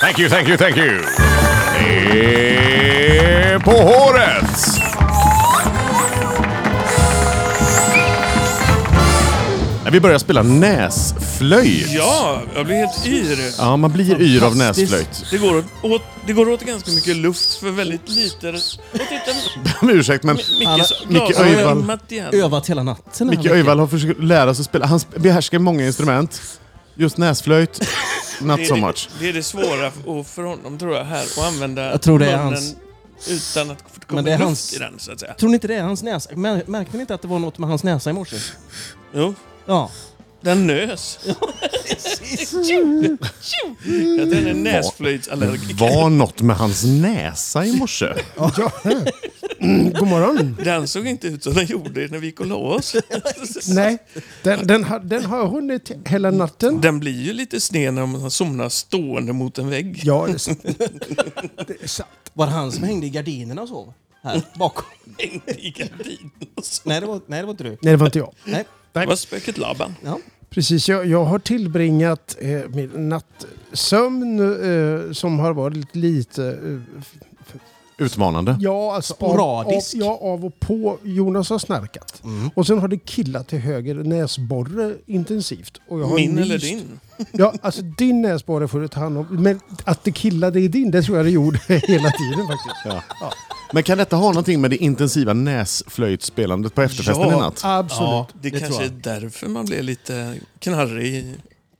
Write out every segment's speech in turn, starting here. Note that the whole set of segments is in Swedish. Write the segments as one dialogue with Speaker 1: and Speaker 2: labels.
Speaker 1: Thank you, thank you, thank you. Det är På håret! När vi börjar spela näsflöjt.
Speaker 2: Ja, jag blir helt yr.
Speaker 1: Ja, man blir yr av
Speaker 2: Fantastiskt.
Speaker 1: näsflöjt.
Speaker 2: Det går åt, åt, det går åt ganska mycket luft för väldigt lite... Och titta,
Speaker 1: Om ursäkt, men
Speaker 2: Mickes
Speaker 1: Micke Öjvall.
Speaker 2: glasögon.
Speaker 3: Övat hela natten. den här
Speaker 1: Micke
Speaker 3: veckan.
Speaker 1: Öjvall har försökt lära sig spela. Han sp- behärskar många instrument. Just näsflöjt, not so much.
Speaker 2: Det är det svåra för, och för honom tror jag här, att använda
Speaker 3: Jag tror det är
Speaker 2: munnen
Speaker 3: hans.
Speaker 2: utan att få komma
Speaker 3: Men det är
Speaker 2: luft
Speaker 3: hans.
Speaker 2: i den så att säga.
Speaker 3: Tror ni inte det är hans näsa? Mär, märkte ni inte att det var något med hans näsa i morse?
Speaker 2: Jo,
Speaker 3: Ja.
Speaker 2: den nös. Att den är näsflöjtsallergiker.
Speaker 1: var något med hans näsa i morse.
Speaker 4: God morgon.
Speaker 2: Den såg inte ut som den gjorde när vi gick och la oss.
Speaker 4: Nej, den, den, har, den har hunnit hela natten.
Speaker 2: Den blir ju lite sned när man somnar stående mot en vägg.
Speaker 4: Ja, det är sant. Det är sant.
Speaker 3: Var det han som hängde i gardinerna och sov? Här bakom?
Speaker 2: i gardinen och så.
Speaker 3: nej, det var, nej, det var inte du.
Speaker 4: Nej, det var inte jag.
Speaker 3: Nej.
Speaker 2: Det var spöket Laban.
Speaker 3: Ja.
Speaker 4: Precis, jag, jag har tillbringat eh, min nattsömn eh, som har varit lite... Eh, f-
Speaker 1: Utmanande.
Speaker 4: ja, alltså,
Speaker 3: Sporadisk.
Speaker 4: Av, av, ja, av och på. Jonas har snarkat. Och sen har det killat till höger näsborre intensivt. Och jag har
Speaker 2: Min eller
Speaker 4: nyst.
Speaker 2: din?
Speaker 4: Ja, alltså din näsborre får du ta hand om. Men att det killade i din, det tror jag det gjorde hela tiden faktiskt.
Speaker 1: Ja. Men kan detta ha någonting med det intensiva näsflöjtspelandet på efterfesten
Speaker 2: Ja.
Speaker 1: i natt?
Speaker 4: Absolut.
Speaker 3: Ja,
Speaker 2: Det,
Speaker 3: tror
Speaker 2: kanske är
Speaker 3: jag.
Speaker 2: därför man blev lite knarrig.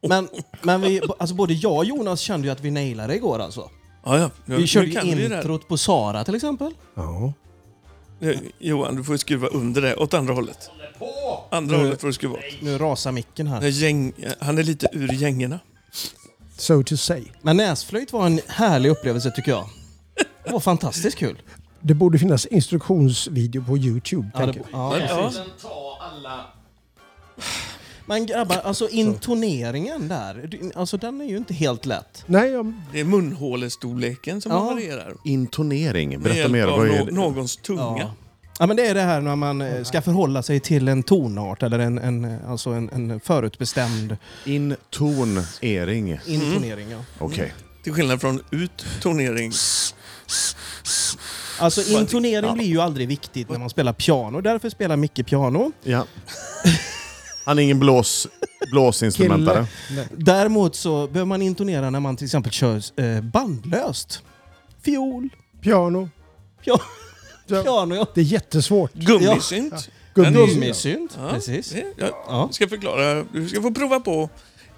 Speaker 3: Men, men vi, alltså både jag och Jonas kände ju att vi nailade igår alltså.
Speaker 2: Ja, ja. Nu-
Speaker 3: Vi körde
Speaker 2: nu
Speaker 3: ju
Speaker 2: kan det där.
Speaker 3: introt på Sara till exempel.
Speaker 4: Ja.
Speaker 2: Nu, Johan, du får ju skruva under det. Åt andra hållet. Andra hållet får du skruva åt.
Speaker 3: Nu rasar
Speaker 2: Den
Speaker 3: micken här.
Speaker 2: här Gäng, han är lite ur gängorna.
Speaker 4: So to say.
Speaker 3: Men näsflöjt var en härlig upplevelse tycker jag. Det var fantastiskt kul.
Speaker 4: Det borde finnas instruktionsvideo på Youtube.
Speaker 3: Ja,
Speaker 4: tänker
Speaker 3: det,
Speaker 4: jag.
Speaker 3: ja,
Speaker 2: Men, ja,
Speaker 3: Men grabbar, alltså intoneringen där, du- alltså den är ju inte helt lätt.
Speaker 4: Nej, jag,
Speaker 2: det är munhålestorleken som
Speaker 3: Ja.
Speaker 2: varierar.
Speaker 1: Intonering.
Speaker 2: Med
Speaker 1: Berätta
Speaker 2: hjälp
Speaker 1: mer.
Speaker 2: av
Speaker 1: Vad är
Speaker 2: nå-
Speaker 1: det?
Speaker 2: någons
Speaker 3: Ja.
Speaker 2: tunga.
Speaker 3: ja, men det är det här när man eh, ska förhålla sig till en tonart eller en, en, alltså en, en förutbestämd
Speaker 1: Intonering. Okej.
Speaker 2: Mm.
Speaker 3: intonering. Ja.
Speaker 2: Till skillnad från utturnering.
Speaker 3: Alltså intonering blir ju aldrig viktigt när man spelar piano, därför spelar Micke piano.
Speaker 1: Ja. Han är ingen blås, blåsinstrumentare.
Speaker 3: Däremot så behöver man intonera när man till exempel kör eh, bandlöst. Fiol,
Speaker 4: Piano.
Speaker 3: pia-
Speaker 4: Ja.
Speaker 3: piano, ja.
Speaker 4: Det är jättesvårt.
Speaker 2: Gummisynt.
Speaker 4: Gummi-
Speaker 2: Den är-
Speaker 3: Gummisynt,
Speaker 2: Ja,
Speaker 3: precis.
Speaker 2: det- Jag
Speaker 3: Ja.
Speaker 2: ska förklara. Du ska få prova på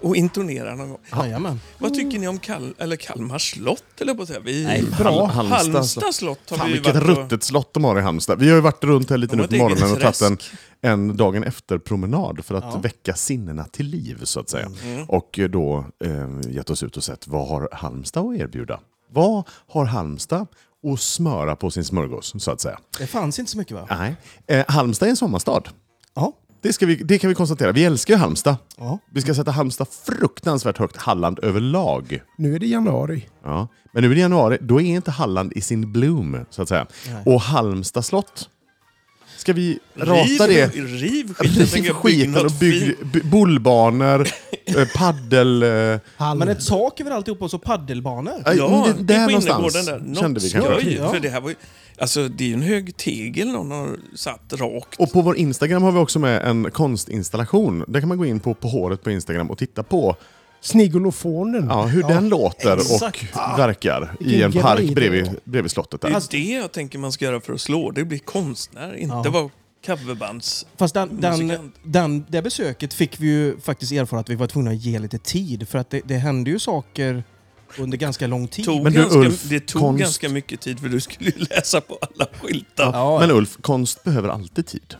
Speaker 2: och intonera någon gång.
Speaker 3: Jajamän.
Speaker 2: Vad
Speaker 1: Mm.
Speaker 2: tycker ni om Kal eller Kalmar slott, eller på att säga? Vi...
Speaker 1: Hal-
Speaker 2: Halmstad,
Speaker 1: Halmstad. alltså.
Speaker 2: slott har
Speaker 1: Fan
Speaker 2: vi
Speaker 1: vilket
Speaker 2: varit på.
Speaker 1: ruttet slott de har i Halmstad. Vi har ju varit runt här lite
Speaker 2: De
Speaker 1: nu
Speaker 2: har
Speaker 1: på
Speaker 2: ett eget
Speaker 1: morgonen och tagit en,
Speaker 2: träsk.
Speaker 1: en dagen efter-promenad för att
Speaker 3: Ja.
Speaker 1: väcka sinnena till liv så att säga.
Speaker 2: Mm.
Speaker 1: Och eh, då eh, gett oss ut och sett vad har Halmstad att erbjuda? Vad har Halmstad att smöra på sin smörgås så att säga?
Speaker 3: Det fanns inte så mycket va?
Speaker 1: Nej. Eh, Halmstad är en sommarstad.
Speaker 3: Ja.
Speaker 1: Det, ska vi, det kan vi konstatera. Vi älskar ju Halmstad.
Speaker 3: Ja.
Speaker 1: Vi ska sätta Halmstad fruktansvärt högt, Halland överlag.
Speaker 4: Nu är det januari.
Speaker 1: Ja. Men nu är det januari, då är inte Halland i sin bloom, så att säga. Och Halmstad slott, ska vi rata
Speaker 2: riv,
Speaker 1: det?
Speaker 2: Riv skiten, tänk
Speaker 1: Riv
Speaker 2: att bygga
Speaker 1: skiten och
Speaker 2: något
Speaker 1: bygg
Speaker 2: fint.
Speaker 1: by, bollbanor, eh, paddel... Eh,
Speaker 3: Men ett tak över alltihop och så paddelbanor.
Speaker 2: Ja,
Speaker 1: det-
Speaker 2: det,
Speaker 1: där
Speaker 2: på
Speaker 1: någonstans
Speaker 2: innergården där. Något
Speaker 1: kände vi
Speaker 2: skoj,
Speaker 1: kanske.
Speaker 3: Ja.
Speaker 2: För det här var ju, alltså det är ju en hög tegel någon har satt rakt.
Speaker 1: Och på vår Instagram har vi också med en konstinstallation. Där kan man gå in på På håret på Instagram och titta på
Speaker 4: Snigolofonen.
Speaker 1: ja, hur den låter
Speaker 3: Exakt.
Speaker 1: och verkar i
Speaker 4: Vilken
Speaker 1: en park
Speaker 4: grej.
Speaker 1: bredvid, bredvid slottet.
Speaker 2: det är
Speaker 1: Där.
Speaker 2: det jag tänker man ska göra för att slå. Det blir konstnär, inte
Speaker 3: Ja.
Speaker 2: vara coverbands...
Speaker 3: Fast den, den,
Speaker 2: Musikant.
Speaker 3: den, det besöket fick vi ju faktiskt erfara att vi var tvungna att ge lite tid för att det, det hände ju saker under ganska lång tid.
Speaker 2: Tog
Speaker 1: Men du,
Speaker 2: ganska,
Speaker 1: Ulf,
Speaker 2: det tog
Speaker 1: konst-
Speaker 2: ganska mycket tid för du skulle ju läsa på alla skyltar.
Speaker 3: Ja,
Speaker 1: Men Ulf, konst behöver alltid tid.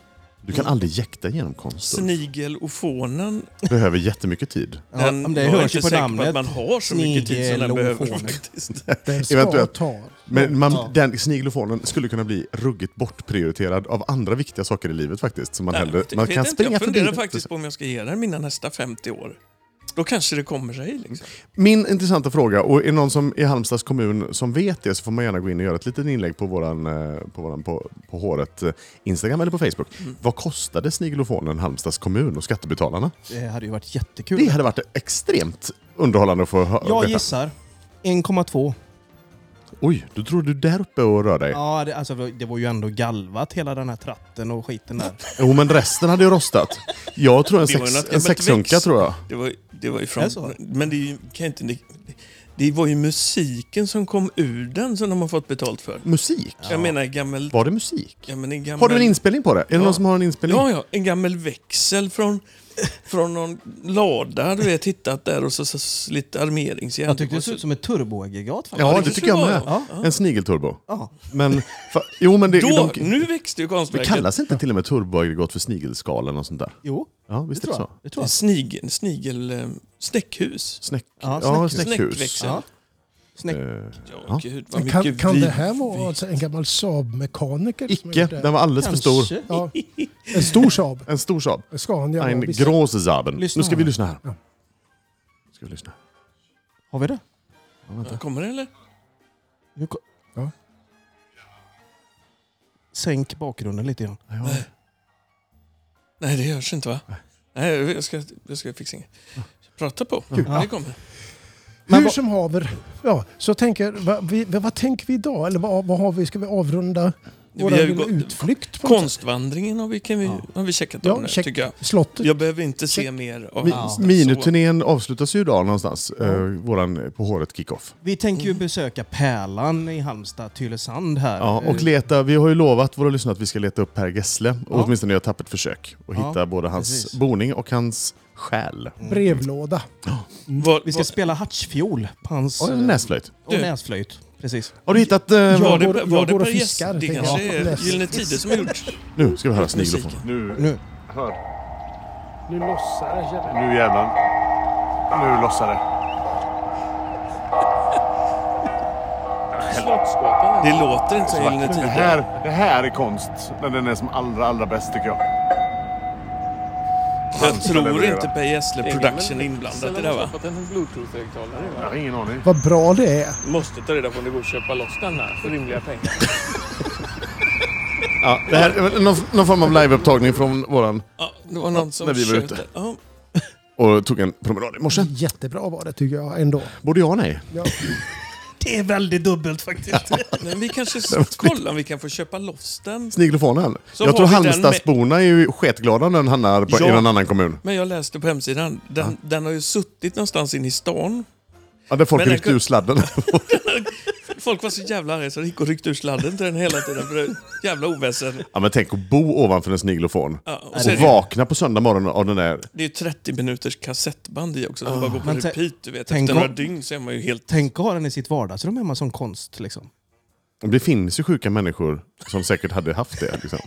Speaker 1: Du kan aldrig jäkta genom konst. Ulf.
Speaker 2: Snigelofonen,
Speaker 1: behöver jättemycket tid.
Speaker 3: ja,
Speaker 2: den
Speaker 3: men det
Speaker 2: jag är
Speaker 3: hörs
Speaker 2: inte
Speaker 3: ju på
Speaker 2: säker på
Speaker 3: namnet.
Speaker 2: att man har så mycket tid som den behöver
Speaker 3: Snigelofonen.
Speaker 2: faktiskt.
Speaker 4: Den ska
Speaker 1: Eventuellt.
Speaker 4: ta.
Speaker 1: Men man,
Speaker 3: Ja.
Speaker 1: den sniglofonen skulle kunna bli ruggigt bortprioriterad av andra viktiga saker i livet faktiskt. Som man, hellre,
Speaker 2: Jag
Speaker 1: man
Speaker 2: vet
Speaker 1: kan
Speaker 2: inte,
Speaker 1: springa
Speaker 2: Jag
Speaker 1: förbi.
Speaker 2: funderar faktiskt på om jag ska ge den mina nästa 50 år. Då kanske det kommer sig. Liksom.
Speaker 1: Min intressanta fråga, och är det någon som i Halmstads kommun som vet det så får man gärna gå in och göra ett litet inlägg på våran, eh, på, våran på, på håret eh, Instagram eller på Facebook.
Speaker 2: Mm.
Speaker 1: Vad kostade sniglofonen Halmstads kommun och skattebetalarna?
Speaker 3: Det hade ju varit jättekul.
Speaker 1: Det hade varit extremt underhållande att få hö-
Speaker 3: jag
Speaker 1: veta.
Speaker 3: gissar 1,2.
Speaker 1: Oj, då tror du där uppe och rör dig.
Speaker 3: Ja, det, alltså, det var ju ändå galvat hela den här tratten och skiten där.
Speaker 1: Jo, men resten hade ju rostat. Jag tror en,
Speaker 2: Det var ju
Speaker 1: sex,
Speaker 2: något
Speaker 1: en
Speaker 2: gammalt
Speaker 1: sexunka
Speaker 2: växt.
Speaker 1: tror jag.
Speaker 2: Det var, det var ju
Speaker 3: Är det
Speaker 2: från...
Speaker 3: så?
Speaker 2: Men det, är ju- kan jag inte, det, det var ju musiken som kom ur den som de har fått betalt för.
Speaker 1: Musik?
Speaker 2: Jag menar gammel...
Speaker 1: Var det musik?
Speaker 2: Jag menar, gammel
Speaker 1: Har du en inspelning på det? Är det
Speaker 2: Ja.
Speaker 1: någon som har en inspelning?
Speaker 2: Ja, ja. En gammal växel från, från någon lada du vet, hittat där och så, så, så lite armeringsjärn.
Speaker 3: Jag tyckte det såg ut som ett turboaggregat. faktiskt.
Speaker 1: Ja,
Speaker 2: det
Speaker 1: det
Speaker 2: kanske
Speaker 1: tycker jag
Speaker 2: det
Speaker 1: med.
Speaker 2: var, ja.
Speaker 1: En snigelturbo.
Speaker 3: Ja.
Speaker 1: Men, fa, jo men det,
Speaker 2: Då,
Speaker 1: de,
Speaker 2: nu växte ju
Speaker 1: det
Speaker 2: konstverket.
Speaker 1: kallas inte till och med turboaggregat för snigelskal eller något sånt där?
Speaker 3: Jo,
Speaker 1: Ja,
Speaker 3: det
Speaker 1: visst är det
Speaker 3: tror
Speaker 1: så?
Speaker 3: jag. Det tror jag.
Speaker 2: Snigel... snigel eh, snäckhus.
Speaker 1: Snäck,
Speaker 3: Ja,
Speaker 1: ja,
Speaker 3: snäckhus.
Speaker 1: snäckhus.
Speaker 2: Snäckväxel.
Speaker 3: Ja. Snäck.
Speaker 1: Eh,
Speaker 2: Ja,
Speaker 1: Ja.
Speaker 2: gud vad mycket
Speaker 4: Kan, kan
Speaker 2: vi-
Speaker 4: det här vara
Speaker 2: vi-
Speaker 4: alltså en gammal Saab-mekaniker? som har
Speaker 1: Icke,
Speaker 4: gjort det här?
Speaker 1: den var alldeles för stor.
Speaker 3: Kanske.
Speaker 4: Ja. En stor Saab.
Speaker 1: En stor Saab.
Speaker 4: En Scania.
Speaker 1: En
Speaker 4: ja, visst.
Speaker 1: große Saaben. Nu
Speaker 3: Lyssna
Speaker 1: ska
Speaker 3: här.
Speaker 1: vi lyssna här.
Speaker 4: Ja.
Speaker 1: Ska vi lyssna?
Speaker 3: Har vi det?
Speaker 2: Kommer det eller?
Speaker 3: Nu ko-
Speaker 4: Ja.
Speaker 3: Sänk bakgrunden lite grann.
Speaker 1: Ja.
Speaker 2: Nej, det görs inte va? Nej, jag ska, jag ska fixa inget. Prata på. Ja. Det kommer.
Speaker 3: Men
Speaker 4: Hur
Speaker 3: vad-
Speaker 4: som haver, ja, så tänker, vad, vi, vad tänker vi idag? Eller vad, vad har vi, ska vi avrunda
Speaker 2: Vi
Speaker 4: vår
Speaker 2: har ju
Speaker 4: lilla
Speaker 2: gått-
Speaker 4: utflykt? På något sätt?
Speaker 2: Konstvandringen har vi, kan vi, har vi checkat av
Speaker 4: ja,
Speaker 2: nu,
Speaker 4: check.
Speaker 2: tycker jag.
Speaker 4: Slottet.
Speaker 2: Jag behöver inte se mer av
Speaker 1: Mi-
Speaker 2: hans-
Speaker 1: Miniturnén avslutas ju idag någonstans. Eh, våran På håret kickoff.
Speaker 3: Vi tänker ju besöka Pärlan i Halmstad, Tylösand här.
Speaker 1: Ja, och
Speaker 3: Eh,
Speaker 1: leta, vi har ju lovat våra lyssnare att vi ska leta upp Per Gessle. Och
Speaker 3: Ja.
Speaker 1: åtminstone göra ett tappert försök. Och
Speaker 3: Ja,
Speaker 1: hitta både hans
Speaker 3: precis.
Speaker 1: boning och hans själ.
Speaker 4: Brevlåda.
Speaker 2: Så. Var,
Speaker 3: Vi ska spela hartsfiol på hans...
Speaker 1: Och en
Speaker 3: eh,
Speaker 1: näsflöjt.
Speaker 3: och näsflöjt. Precis.
Speaker 1: Har du hittat... eh,
Speaker 2: var, var
Speaker 4: går-
Speaker 2: det,
Speaker 4: jag
Speaker 2: var det
Speaker 4: går och
Speaker 2: Per
Speaker 4: fiskar,
Speaker 2: Gessle? Det
Speaker 4: tänker jag.
Speaker 2: kanske är
Speaker 4: Ja.
Speaker 2: Gyllene Tider som har gjort.
Speaker 1: Nu ska vi höra
Speaker 2: Musiken.
Speaker 1: snigelofonen.
Speaker 5: Nu,
Speaker 3: Nu.
Speaker 5: hör.
Speaker 4: Nu lossar det.
Speaker 5: Nu jävlar. Nu lossar det.
Speaker 2: Det låter inte som Gyllene
Speaker 5: Det
Speaker 2: Tider.
Speaker 5: här, det här är konst när den är som allra, allra bäst tycker jag.
Speaker 2: Jag tror
Speaker 5: leverera.
Speaker 2: inte Per Gessle Production är inblandat i det här va?
Speaker 6: att den har bluetooth-högtalare.
Speaker 5: Jag har ingen aning.
Speaker 4: Vad bra det är.
Speaker 6: Måste ta reda på om det går att köpa loss den här för rimliga pengar.
Speaker 1: Ja, det här är väl någon, någon form av liveupptagning från våran...
Speaker 2: Ja, det var någon som
Speaker 1: När vi var
Speaker 2: tjöt
Speaker 1: ute.
Speaker 2: där. Ja,
Speaker 1: Och tog en promenad i morse.
Speaker 4: Jättebra var det tycker jag ändå.
Speaker 1: Både ja och nej.
Speaker 4: Ja.
Speaker 3: Det är väldigt dubbelt faktiskt.
Speaker 2: men vi kanske s- kollar om vi kan få köpa loss den.
Speaker 1: Snigelfonen.
Speaker 2: Så
Speaker 1: Jag
Speaker 2: har
Speaker 1: tror
Speaker 2: vi den
Speaker 1: Halmstadsborna är ju sketglada när den hamnar på, i
Speaker 2: Ja.
Speaker 1: någon annan kommun.
Speaker 2: Men jag läste på hemsidan, den, den har ju suttit någonstans inne i stan.
Speaker 1: Ja, där folk
Speaker 2: Men den
Speaker 1: ryckte
Speaker 2: kan-
Speaker 1: ur sladden.
Speaker 2: Folk var så jävla arga så det gick och ryckte ur sladden till den hela tiden för det jävla oväsen.
Speaker 1: ja, men tänk att bo ovanför en snigelofon.
Speaker 2: Ja, och
Speaker 1: Och
Speaker 2: så är det,
Speaker 1: vakna på söndag morgon av den där.
Speaker 2: det är ju 30 minuters kassettband i också som
Speaker 1: Ah,
Speaker 2: bara går på
Speaker 3: Men tä-
Speaker 2: repeat. Du vet.
Speaker 3: tänk
Speaker 2: Efter några
Speaker 3: om-
Speaker 2: dygn så är man ju helt...
Speaker 3: Tänk att ha den i sitt vardagsrum hemma som konst. Liksom.
Speaker 1: Det finns ju sjuka människor som säkert hade haft det. Liksom.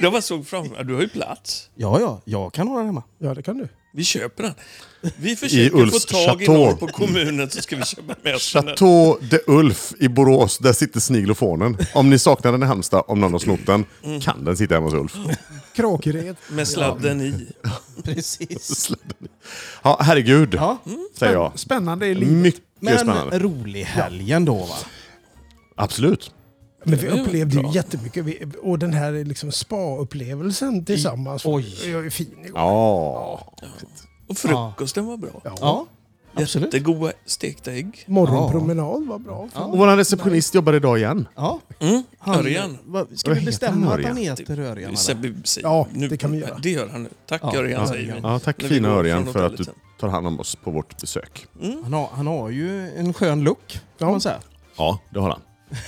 Speaker 2: Jag bara såg fram ja, du har ju plats.
Speaker 3: Ja, ja, jag kan ha den hemma.
Speaker 4: ja, det kan du.
Speaker 2: Vi köper den. Vi försöker få
Speaker 1: Ulfs
Speaker 2: tag i
Speaker 1: chateau.
Speaker 2: någon på kommunen så ska vi köpa med oss den.
Speaker 1: Chateau de Ulf i Borås, där sitter snigelofonen. Om ni saknar den i Halmstad, om någon har snott den,
Speaker 2: Mm.
Speaker 1: kan den sitta hemma hos Ulf.
Speaker 4: Kråkered.
Speaker 2: Med sladden i.
Speaker 3: Precis.
Speaker 1: Sladden. Ja, herregud,
Speaker 3: Ja.
Speaker 1: säger jag.
Speaker 4: Spännande i livet.
Speaker 1: Mycket
Speaker 3: Men eh,
Speaker 1: spännande.
Speaker 3: rolig helg ändå va?
Speaker 1: Absolut.
Speaker 4: Men vi
Speaker 2: Det var ju
Speaker 4: upplevde ju
Speaker 2: bra.
Speaker 4: jättemycket. Vi, och den här liksom spa-upplevelsen tillsammans.
Speaker 3: oj.
Speaker 4: Jag är fin igår.
Speaker 1: Ja.
Speaker 2: Och frukosten var bra.
Speaker 3: Ja, absolut.
Speaker 2: Jättegoda stekta ägg.
Speaker 4: Morgonpromenad var bra.
Speaker 1: Och vår receptionist jobbar idag igen.
Speaker 3: Ja.
Speaker 2: Örjan.
Speaker 3: Va, ska
Speaker 1: Vad
Speaker 3: vi
Speaker 1: heter
Speaker 3: bestämma att
Speaker 1: Örjan?
Speaker 3: han heter Örjan?
Speaker 2: Vi
Speaker 3: eller?
Speaker 2: säger- vi säger-
Speaker 4: Ja,
Speaker 2: nu-
Speaker 4: det kan vi göra.
Speaker 2: Det gör han nu. Tack
Speaker 3: Ja,
Speaker 2: Örjan
Speaker 3: ja,
Speaker 2: säger
Speaker 3: ja.
Speaker 2: vi.
Speaker 1: Ja, tack
Speaker 2: När vi
Speaker 1: fina
Speaker 2: går
Speaker 1: Örjan
Speaker 2: från
Speaker 1: för att
Speaker 2: hotellet
Speaker 1: du
Speaker 2: sen.
Speaker 1: tar hand om oss på vårt besök.
Speaker 3: Han har, han har ju en skön look, kan man säga.
Speaker 1: Ja, det har han.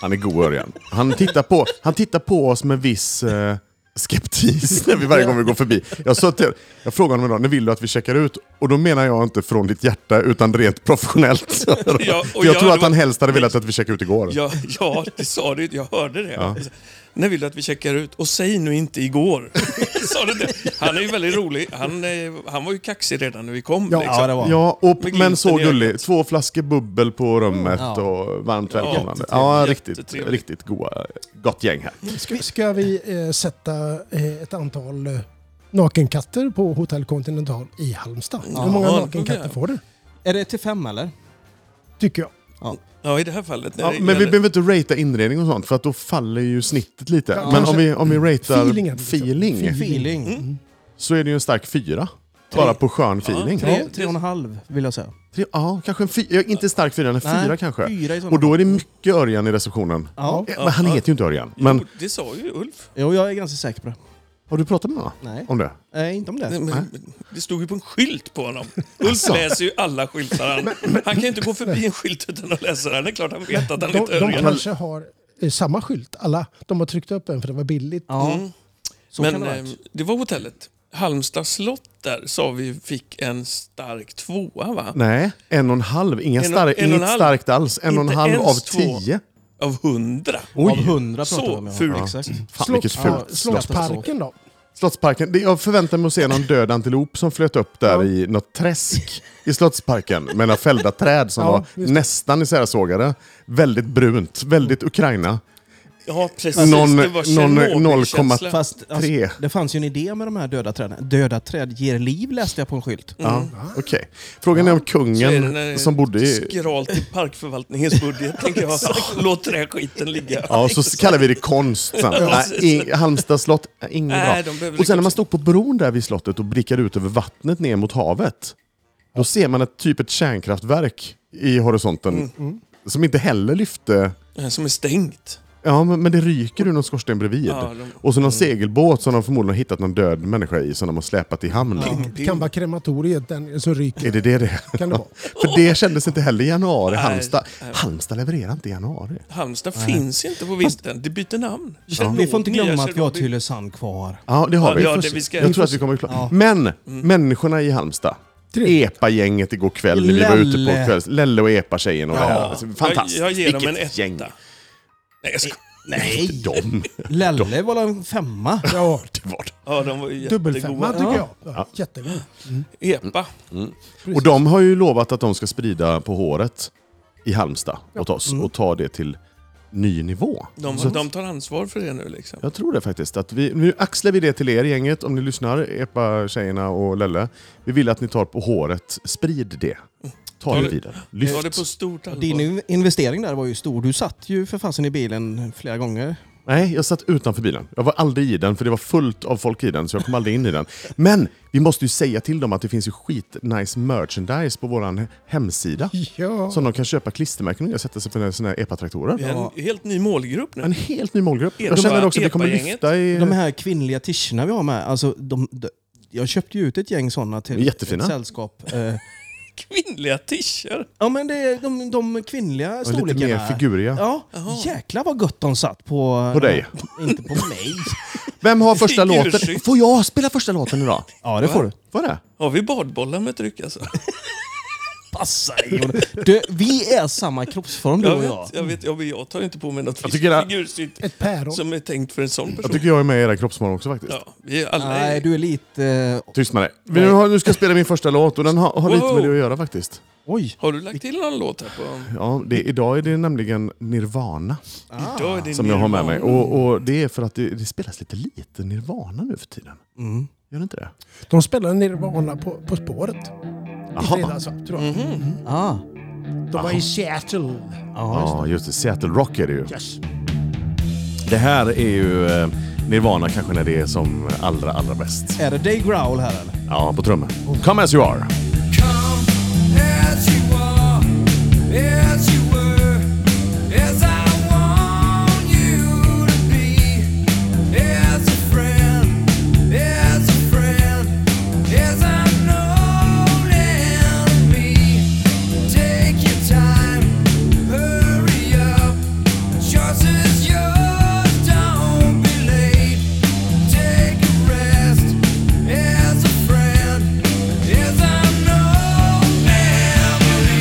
Speaker 1: Han är god Örjan. Han tittar på, han tittar på oss med viss eh, skeptis när vi varje gång vi går förbi. Jag, sa till, jag frågade honom idag, när vill du att vi checkar ut? Och då menar jag inte från ditt hjärta, utan rent professionellt. För jag
Speaker 2: jag-
Speaker 1: tror
Speaker 2: det
Speaker 1: att han
Speaker 2: var-
Speaker 1: helst hade velat att vi checkade ut igår.
Speaker 2: Ja, ja, det sa du. Jag hörde det. När vill du att vi checkar ut? Och säg nu inte igår. sa du det? Han är ju väldigt rolig. Han, eh, han var ju kaxig redan när vi kom.
Speaker 4: Ja,
Speaker 2: liksom.
Speaker 3: det var
Speaker 1: Ja, och,
Speaker 2: Med
Speaker 1: men så
Speaker 2: glimten i
Speaker 1: gullig. Två flaskor bubbel på rummet
Speaker 3: Ja.
Speaker 1: och varmt
Speaker 2: Ja,
Speaker 1: välkomnande.
Speaker 2: jättetrevligt.
Speaker 1: Ja, riktigt,
Speaker 2: Jättetrevligt.
Speaker 1: riktigt goa, gott gäng här.
Speaker 4: Ska, ska vi eh, sätta eh, ett antal eh, nakenkatter på Hotell Continental i Halmstad? Hur många
Speaker 2: Ja,
Speaker 4: nakenkatter
Speaker 2: det-
Speaker 4: får du?
Speaker 3: Är det till fem eller?
Speaker 4: Tycker jag.
Speaker 2: Ja, i det här fallet. när
Speaker 1: Ja,
Speaker 2: det
Speaker 1: men vi
Speaker 2: gäller-
Speaker 1: behöver inte ratea inredning och sånt, för att då faller ju snittet lite. men om
Speaker 4: kanske.
Speaker 1: vi, om vi ratear
Speaker 4: Feelingen, liksom.
Speaker 1: feeling
Speaker 3: Feeling.
Speaker 1: så är det ju en stark fyra. Bara på skön feeling.
Speaker 3: Tre,
Speaker 2: Ja,
Speaker 3: tre och en halv vill jag säga.
Speaker 1: Tre- Ja, kanske en fyra. Inte stark fyra, en
Speaker 3: Nej,
Speaker 1: fyra kanske.
Speaker 3: Fyra i sådana
Speaker 1: Och då
Speaker 3: fall.
Speaker 1: är det mycket Örjan i receptionen.
Speaker 3: Ja,
Speaker 1: Eh, Men han heter ju inte Örjan. Men
Speaker 2: Jo, det sa ju Ulf.
Speaker 3: jo, jag är ganska säker på det.
Speaker 1: har du pratat med någon
Speaker 3: Nej,
Speaker 1: om det?
Speaker 3: eh, inte om det.
Speaker 2: Nej, men, det stod ju på en skylt på honom. Ulf
Speaker 1: Alltså.
Speaker 2: läser ju alla skyltar. Han, han kan ju inte gå förbi en skylt utan att läsa den. Det är klart han vet att han
Speaker 4: De,
Speaker 2: inte är
Speaker 4: de
Speaker 2: Örjan.
Speaker 4: kanske har eh, samma skylt, alla. De har tryckt upp en för det var billigt.
Speaker 3: Ja,
Speaker 2: Mm.
Speaker 3: så
Speaker 2: Men
Speaker 3: kan det
Speaker 2: eh,
Speaker 3: vara.
Speaker 2: det var hotellet. Halmstad slott där sa vi fick en stark tvåa va?
Speaker 1: Nej, en och en halv. Inga
Speaker 2: En och-
Speaker 1: stark,
Speaker 2: en och en
Speaker 1: inget
Speaker 2: halv.
Speaker 1: starkt alls. En och en
Speaker 2: Inte
Speaker 1: halv
Speaker 2: ens
Speaker 1: av
Speaker 2: två.
Speaker 1: tio.
Speaker 2: Av hundra.
Speaker 3: Av hundra pratar
Speaker 2: så
Speaker 3: vi om. ja. Mm.
Speaker 2: fult.
Speaker 3: Exakt.
Speaker 1: Fan
Speaker 4: Slott-
Speaker 1: vilket
Speaker 4: ja,
Speaker 1: fult. slott.
Speaker 4: Slottsparken då?
Speaker 1: Slottsparken. Det- Jag förväntar mig att se någon död antilop som flöt upp där i något träsk i Slottsparken med några fällda träd som
Speaker 4: Ja,
Speaker 1: var
Speaker 4: just
Speaker 1: nästan isärsågade. Väldigt brunt, väldigt Ukraina.
Speaker 2: Ja precis,
Speaker 1: Någon-
Speaker 2: det var
Speaker 1: någon
Speaker 2: Tjernobylkänsla.
Speaker 1: 0,3.
Speaker 3: Fast alltså,
Speaker 1: Tre.
Speaker 3: det fanns ju en idé med de här döda träden. Döda träd ger liv läste jag på en skylt.
Speaker 1: Ja, Okej. Frågan är om
Speaker 2: Så är det
Speaker 1: kungen
Speaker 2: när-
Speaker 1: som bodde i...
Speaker 2: Skralt i parkförvaltningens budget, tänker jag. Låt den här skiten ligga.
Speaker 1: Ja, så kallar vi det konst sen. Nej, i- Halmstad slott, äh, inget bra.
Speaker 2: Nej, de behöver
Speaker 1: Och sen när man
Speaker 2: liksom-
Speaker 1: stod på bron där vid slottet och blickade ut över vattnet ner mot havet. Då ser man ett typ ett kärnkraftverk i horisonten. Som inte heller lyfte...
Speaker 2: Nej, Som är stängt.
Speaker 1: Ja, men, men det ryker ur någon skorsten bredvid.
Speaker 2: Ja, de- Mm.
Speaker 1: Och så någon segelbåt som de förmodligen har hittat någon död människa i som de har släpat i hamn.
Speaker 4: Det kan vara krematoriet, den som ryker.
Speaker 1: Är det det det är?
Speaker 4: Kan det vara.
Speaker 1: För det kändes inte heller i januari.
Speaker 2: Nej,
Speaker 1: Halmstad,
Speaker 2: nej.
Speaker 1: Halmstad levererar inte i januari.
Speaker 2: Halmstad finns inte på vintern, det byter namn.
Speaker 3: Vi får inte glömma att vi har
Speaker 2: Tjernobyl.
Speaker 3: Tylösand kvar.
Speaker 1: Ja, det har
Speaker 2: Ja,
Speaker 1: vi.
Speaker 2: ja, det vi ska-
Speaker 1: jag tror att vi kommer klara. Men,
Speaker 2: Mm.
Speaker 1: människorna i Halmstad. Epa-gänget igår kväll när vi var ute
Speaker 3: Lelle.
Speaker 1: på kvälls. Lelle och Epa-tjejen och det här. Alltså, Fantastiskt.
Speaker 2: Jag, jag ger dem en
Speaker 1: Vilket
Speaker 2: etta.
Speaker 1: gäng.
Speaker 2: Nej, jag skojar.
Speaker 1: Nej, de.
Speaker 3: Lelle var en femma.
Speaker 4: Ja,
Speaker 1: Det var det.
Speaker 2: Ja, de var ju
Speaker 4: dubbelfemma
Speaker 2: jättegoda.
Speaker 4: tycker jag. Ja, jättegod.
Speaker 2: Epa.
Speaker 1: Och de har ju lovat att de ska sprida på håret i Halmstad åt oss och ta det till ny nivå.
Speaker 2: De, de tar ansvar för det nu liksom.
Speaker 1: Jag tror det faktiskt. Att vi, nu axlar vi det till er gänget, om ni lyssnar, Epa-tjejerna och Lelle. Vi vill att ni tar på håret. Sprid det. Ta
Speaker 2: Ja,
Speaker 1: det
Speaker 2: det-
Speaker 1: vidare.
Speaker 2: Ta det
Speaker 1: Lyft.
Speaker 2: på stort
Speaker 3: Din
Speaker 2: allvar.
Speaker 3: in- investering där var ju stor. Du satt ju för fasen i bilen flera gånger.
Speaker 1: Nej, jag satt utanför bilen. Jag var aldrig i den, för det var fullt av folk i den, så jag kom aldrig in i den. Men vi måste ju säga till dem att det finns ju skitnice merchandise på vår hemsida.
Speaker 4: Ja.
Speaker 1: Som de kan köpa klistermärken och göra, sätta sig på sina Epa-traktorer.
Speaker 2: Vi har en helt ny målgrupp
Speaker 1: En
Speaker 2: nu.
Speaker 1: helt ny målgrupp. Jag
Speaker 2: de
Speaker 1: känner
Speaker 2: här
Speaker 1: också att vi kommer
Speaker 2: Epa-gänget.
Speaker 1: lyfta i...
Speaker 3: De här kvinnliga tischerna vi har med, alltså de, de, jag köpte ju ut ett gäng sådana
Speaker 1: De är
Speaker 3: till
Speaker 1: jättefina.
Speaker 3: ett sällskap. Eh,
Speaker 2: Kvinnliga t-shirts.
Speaker 3: ja men det är de, de kvinnliga
Speaker 1: lite
Speaker 3: storlekarna.
Speaker 1: mer figuriga.
Speaker 3: Ja, jäklar vad gött de satt på... eh,
Speaker 1: På dig.
Speaker 3: Inte på mig.
Speaker 1: Vem har första låten?
Speaker 2: Ursäkt.
Speaker 1: Får jag spela första låten idag?
Speaker 3: Ja, det får du.
Speaker 1: Vad är det?
Speaker 2: Har vi badbollar med tryck alltså?
Speaker 3: Passa dig. Du, vi är samma kroppsform du
Speaker 2: Jag
Speaker 3: och jag.
Speaker 2: vet, jag, vet, jag, vet, jag tar inte på mig något
Speaker 1: tycker att-
Speaker 2: figursynt
Speaker 4: Ett päron.
Speaker 2: som är tänkt för en sån
Speaker 1: Jag
Speaker 2: person.
Speaker 1: tycker jag är med i era kroppsmål också faktiskt.
Speaker 2: Ja, vi är alla...
Speaker 3: Nej, du är lite... eh,
Speaker 1: Tyst med dig. Vi nu har- Nu ska jag spela min första låt och den har, har lite med det att göra faktiskt.
Speaker 3: Oj.
Speaker 2: Har du lagt till någon låt här på...
Speaker 1: Ja, det, idag är det nämligen Nirvana Ah.
Speaker 2: Idag är det
Speaker 1: som jag har med
Speaker 2: Nirvana.
Speaker 1: mig. Och, och det är för att det, det spelas lite lite Nirvana nu för tiden. Gör det inte det?
Speaker 4: De spelade Nirvana på, på spåret. I
Speaker 1: Jaha.
Speaker 4: fredags, va, tror jag.
Speaker 3: Ah.
Speaker 4: De var i Seattle.
Speaker 1: Ja, just det. Seattle Rock är det ju. Det här är ju eh, Nirvana kanske när det är som allra, allra bäst.
Speaker 3: Är det Dave Growl här eller?
Speaker 1: Ja, på trummor. Come as you are.
Speaker 7: Yes, I know memory.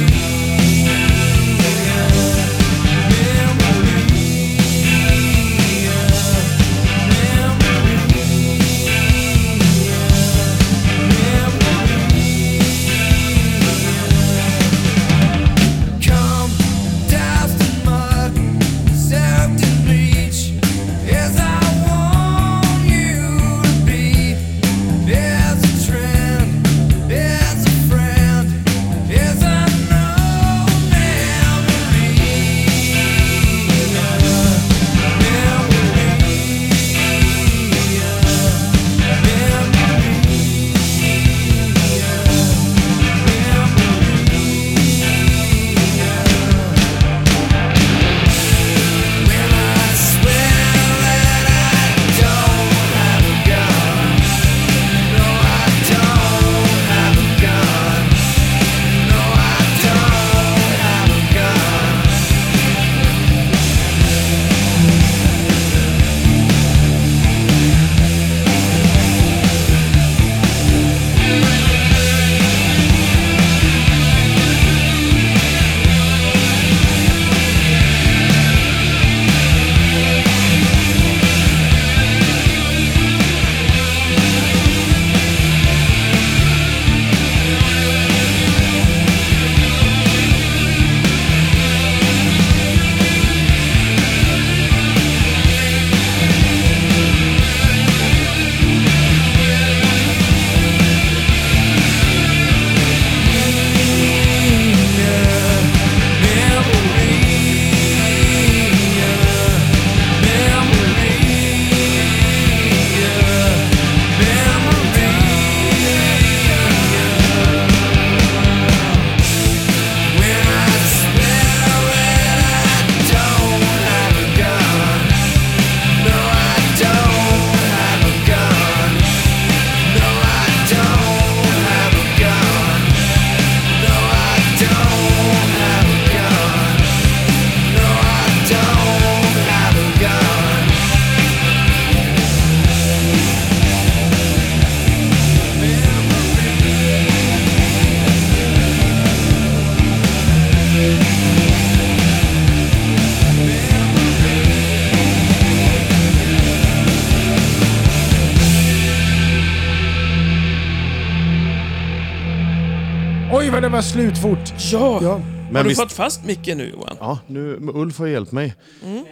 Speaker 4: Oj, vad det var slut fort.
Speaker 2: Ja!
Speaker 4: Ja.
Speaker 2: Har
Speaker 1: Men
Speaker 2: du
Speaker 1: visst,
Speaker 2: fått fast micken nu Johan?
Speaker 1: ja, nu, Ulf har hjälpt mig.
Speaker 4: Mm.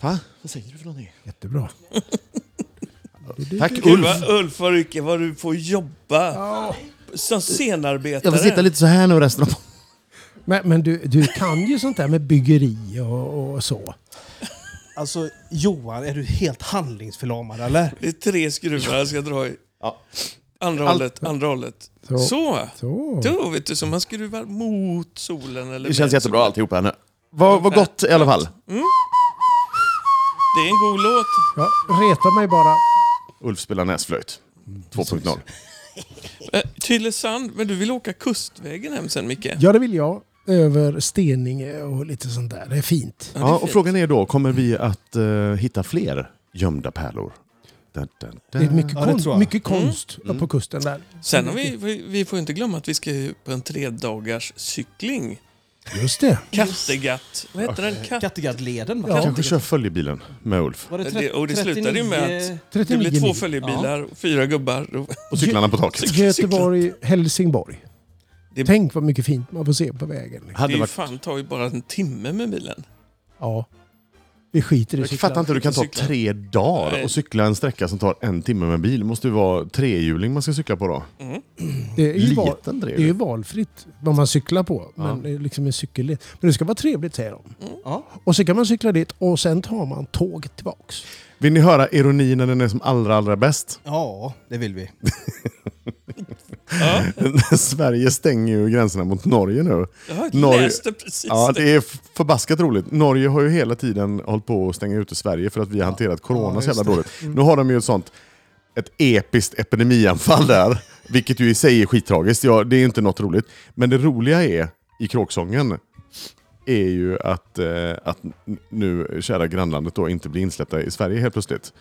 Speaker 1: Va? Vad säger du för någonting?
Speaker 4: Jättebra.
Speaker 1: Tack
Speaker 2: Gud
Speaker 1: Ulf!
Speaker 2: vad Ulf och Rycke, vad du får jobba som scenarbetare.
Speaker 1: Jag får sitta lite så här nu resten av...
Speaker 4: Men, men du, du kan ju sånt där med byggeri och, och så.
Speaker 3: Alltså Johan, är du helt handlingsförlamad eller?
Speaker 2: Det är tre skruvar jag ska dra i.
Speaker 1: Ja.
Speaker 2: Andra
Speaker 1: Allt-
Speaker 2: hållet, andra hållet.
Speaker 4: Så.
Speaker 2: Så.
Speaker 4: Så.
Speaker 2: Då vet du, som man skruvar mot solen. Eller
Speaker 1: Det känns
Speaker 2: med
Speaker 1: jättebra alltihop här nu. Mm. Vad vad gott i alla fall.
Speaker 2: solen. Det är en god låt.
Speaker 4: Ja, reta mig bara.
Speaker 1: Ulf spelar näsflöjt. 2.0.
Speaker 2: Eh, Tylösand, men du vill åka kustvägen hem sen Micke?
Speaker 4: Ja, det vill jag. Över Steninge och lite sånt där. Det är fint.
Speaker 2: det är
Speaker 1: Ja, och
Speaker 2: fint.
Speaker 1: frågan är då, kommer vi att eh, hitta fler gömda pärlor? Dun, dun,
Speaker 4: Det är
Speaker 1: dun.
Speaker 4: mycket,
Speaker 3: Ja, det
Speaker 4: kon-
Speaker 3: tror jag.
Speaker 4: mycket konst uppe på kusten där.
Speaker 2: Sen har vi, vi, vi får inte glömma att vi ska ju på en tredagars cykling.
Speaker 4: Just det.
Speaker 2: Kattegatt. Vad heter den? Katt...
Speaker 3: Kattegattleden va?
Speaker 1: Jag kanske kör följebilen med Ulf.
Speaker 3: Var
Speaker 2: Det- och det slutade ju med att-
Speaker 4: 39
Speaker 2: Det blir två
Speaker 4: mil.
Speaker 2: följebilar, och fyra gubbar. Då-
Speaker 1: Och cyklarna på taket.
Speaker 4: Göteborg, Helsingborg.
Speaker 2: Det-
Speaker 4: Tänk vad mycket fint man får se på vägen. liksom.
Speaker 2: Det
Speaker 1: Hade
Speaker 2: är ju
Speaker 1: varit...
Speaker 2: fan tar ju bara en timme med bilen.
Speaker 4: Ja. Vi skiter i
Speaker 1: Jag fattar
Speaker 4: cyklar.
Speaker 1: inte hur du kan ta
Speaker 2: Cyklar.
Speaker 1: tre dagar
Speaker 2: Nej.
Speaker 1: och cykla en sträcka som tar en timme med bil. Det måste ju vara trehjuling man ska cykla på då.
Speaker 4: Det är ju, val,
Speaker 1: Liten
Speaker 4: det är ju
Speaker 1: trehjuling.
Speaker 4: valfritt vad man cyklar på.
Speaker 1: Ja. Mm.
Speaker 4: Men det är liksom en cykelled. Men det ska vara trevligt säger de.
Speaker 3: Ja.
Speaker 4: Och så kan man cykla dit och sen tar man tåget tillbaks.
Speaker 1: Vill ni höra ironin när den är som allra, allra bäst?
Speaker 3: ja, det vill vi.
Speaker 2: Ja,
Speaker 1: Sverige stänger ju gränserna mot Norge nu.
Speaker 2: jag
Speaker 1: Norge-
Speaker 2: läste precis
Speaker 1: Ja,
Speaker 2: det.
Speaker 1: det är f- förbaskat roligt. Norge har ju hela tiden hållit på att stänga ute Sverige för att vi har hanterat corona så jävla dåligt. Nu har de ju ett sånt ett episkt epidemianfall där, vilket ju i sig är skittragiskt. Ja, det är ju inte något roligt. Men det roliga är, i kråksången, är ju att, eh, att n- nu kära grannlandet då inte blir insläppta i Sverige helt plötsligt.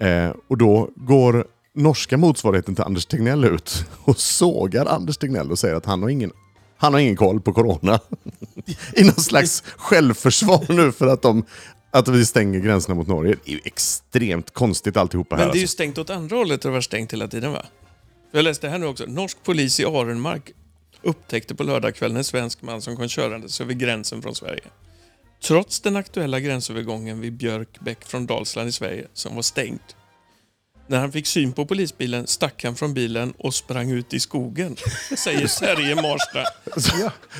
Speaker 1: Eh, och då går norska motsvarigheten till Anders Tegnell ut och sågar Anders Tegnell och säger att han har ingen, han har ingen koll på corona. I någon slags självförsvar nu för att, de, att vi stänger gränserna mot Norge. Det är ju extremt konstigt alltihopa här.
Speaker 2: Men det är ju
Speaker 1: alltså.
Speaker 2: stängt åt andra hållet, det har varit stängt hela tiden va? Jag läste här nu också, norsk polis i Arenmark upptäckte på lördagskvällen en svensk man som kom körandes över gränsen från Sverige. Trots den aktuella gränsövergången vid Björkbäck från Dalsland i Sverige, som var stängd. När han fick syn på polisbilen stack han från bilen och sprang ut i skogen, säger Sverige Marsta.
Speaker 1: alltså.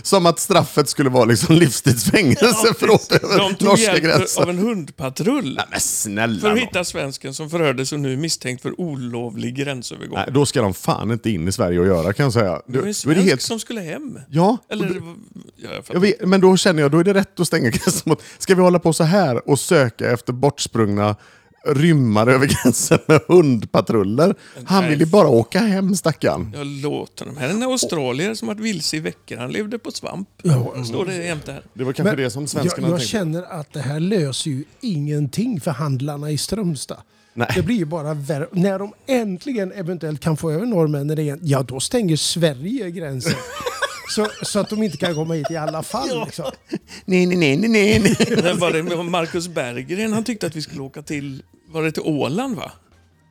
Speaker 1: Som att straffet skulle vara liksom livstidsfängelse för åt
Speaker 2: De
Speaker 1: över
Speaker 2: tog
Speaker 1: norska
Speaker 2: hjälp
Speaker 1: gränsen.
Speaker 2: av en hundpatrull
Speaker 1: Nej, men snälla
Speaker 2: för att
Speaker 1: nån.
Speaker 2: hitta svensken som förhördes och nu är misstänkt för olovlig gränsövergång.
Speaker 1: Nej, då ska de fan inte in i Sverige och göra kan jag säga.
Speaker 2: Det
Speaker 1: Då,
Speaker 2: var en
Speaker 1: då är
Speaker 2: svensk
Speaker 1: det helt...
Speaker 2: som skulle hem.
Speaker 1: Ja,
Speaker 2: Eller,
Speaker 1: och
Speaker 2: det var- ja, jag fattar.
Speaker 1: Jag vet, men då känner jag, då är det rätt att stänga gränsen mot... Ska vi hålla på så här och söka efter bortsprungna rymmare över gränsen med hundpatruller? Han
Speaker 2: Nej.
Speaker 1: vill ju bara åka hem stackarn.
Speaker 2: jag låter dem. Här är en australier som varit vilse i veckor. Han levde på svamp. Står det jämte här.
Speaker 1: Det var kanske
Speaker 4: Men
Speaker 1: det som
Speaker 4: Jag,
Speaker 1: svenskarna
Speaker 4: jag
Speaker 1: tänkte.
Speaker 4: känner att det här löser ju ingenting för handlarna i Strömstad.
Speaker 1: Nej.
Speaker 4: Det blir ju bara värre. När de äntligen eventuellt kan få över norrmännen igen, ja då stänger Sverige gränsen. så, så att de inte kan komma hit i alla fall. Liksom.
Speaker 1: Nej, nej, nej, nej, nej, nej.
Speaker 2: Men var det med Marcus Berggren? Han tyckte att vi skulle åka till... Var det till Åland va?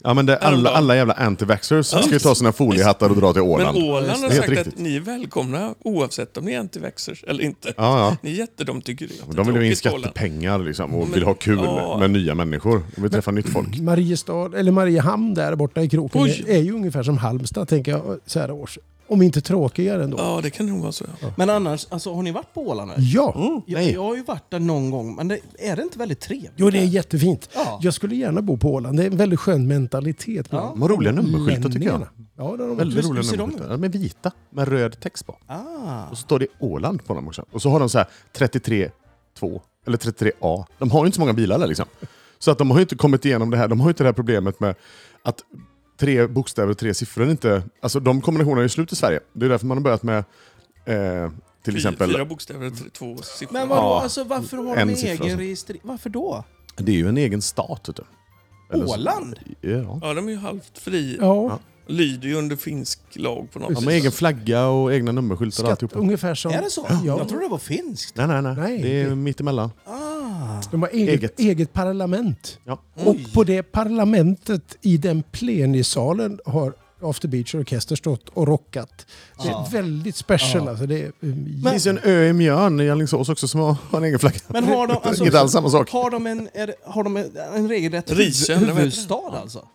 Speaker 1: Ja, men det, alla,
Speaker 2: Häromdagen.
Speaker 1: alla jävla anti-vaxxers ska ju ta sina foliehattar och dra till
Speaker 2: Men
Speaker 1: Åland.
Speaker 2: Åland har
Speaker 1: Det är
Speaker 2: sagt
Speaker 1: helt
Speaker 2: att
Speaker 1: riktigt.
Speaker 2: ni är välkomna oavsett om ni är antivaxxers eller inte.
Speaker 1: Ja, ja.
Speaker 2: Ni är jätte, de tycker det är
Speaker 1: De vill ju ha in
Speaker 2: jättetråkigt, Åland.
Speaker 1: skattepengar liksom, och
Speaker 2: Men-
Speaker 1: vill ha kul
Speaker 2: ja.
Speaker 1: med nya människor. De vill träffa nytt folk.
Speaker 4: Mariestad, eller Mariehamn där borta i kroken,
Speaker 2: Oj.
Speaker 4: är ju ungefär som Halmstad tänker jag så här års. Om inte tråkigare ändå.
Speaker 2: Ja, det kan nog vara så. Ja.
Speaker 3: Men annars, alltså, har ni varit på Åland? eller?
Speaker 4: Ja!
Speaker 1: Mm.
Speaker 3: Jag, jag har ju varit där någon gång, men det, är det inte väldigt trevligt?
Speaker 4: Jo, det är jättefint.
Speaker 3: Ja.
Speaker 4: Jag skulle gärna bo på Åland. Det är en väldigt skön mentalitet. bland
Speaker 1: De har roliga nummerskyltar tycker jag.
Speaker 4: länningarna. Ja, det har de
Speaker 1: Väldigt
Speaker 3: Hur-
Speaker 1: roliga
Speaker 3: hur ser de Ah.
Speaker 1: nummerskyltar. De är vita, med röd text på. Och så står det Åland på dem också. Och så har de så här 33 2 eller 33A. De har ju inte så många bilar där liksom. Så att de har ju inte kommit igenom det här. De har ju inte det här problemet med att tre bokstäver och tre siffror inte... Alltså de kombinationerna är ju slut i Sverige. Det är därför man har börjat med eh, till exempel...
Speaker 2: Fyra bokstäver, tre- två siffror.
Speaker 3: Men vadå,
Speaker 1: Ja.
Speaker 3: alltså, varför har
Speaker 1: En
Speaker 3: de
Speaker 1: siffra
Speaker 3: egen
Speaker 1: så.
Speaker 3: registrering? Varför då?
Speaker 1: Det är ju en egen stat. Vet du. Eller så-
Speaker 3: Åland?
Speaker 1: Ja.
Speaker 2: Ja, de är ju halvt fria.
Speaker 4: Ja,
Speaker 2: Lyder ju under finsk lag på något
Speaker 1: De har egen flagga och egna nummerskyltar och
Speaker 4: skatt,
Speaker 1: alltihopa.
Speaker 4: ungefär som...
Speaker 3: Är det så?
Speaker 4: Ja.
Speaker 3: Jag trodde det var finskt.
Speaker 1: Nej, nej, nej.
Speaker 4: Nej.
Speaker 1: Det är mittemellan.
Speaker 4: De har eget,
Speaker 1: Eget.
Speaker 4: eget. parlament.
Speaker 1: Ja.
Speaker 4: Och på det parlamentet i den plenisalen har After Beach Orkester stått och rockat. Det är
Speaker 3: Ja.
Speaker 4: väldigt special
Speaker 3: Ja.
Speaker 4: alltså. Det är,
Speaker 1: Det finns ju en ö i Mjörn i Alingsås också som har, har en egen flagga.
Speaker 3: Men har de, alltså,
Speaker 1: Inte alls samma sak.
Speaker 3: Har de en, är, det- har de en, en regelrätt
Speaker 2: Risen,
Speaker 3: huv-
Speaker 2: eller vad heter det?
Speaker 3: huvudstad alltså?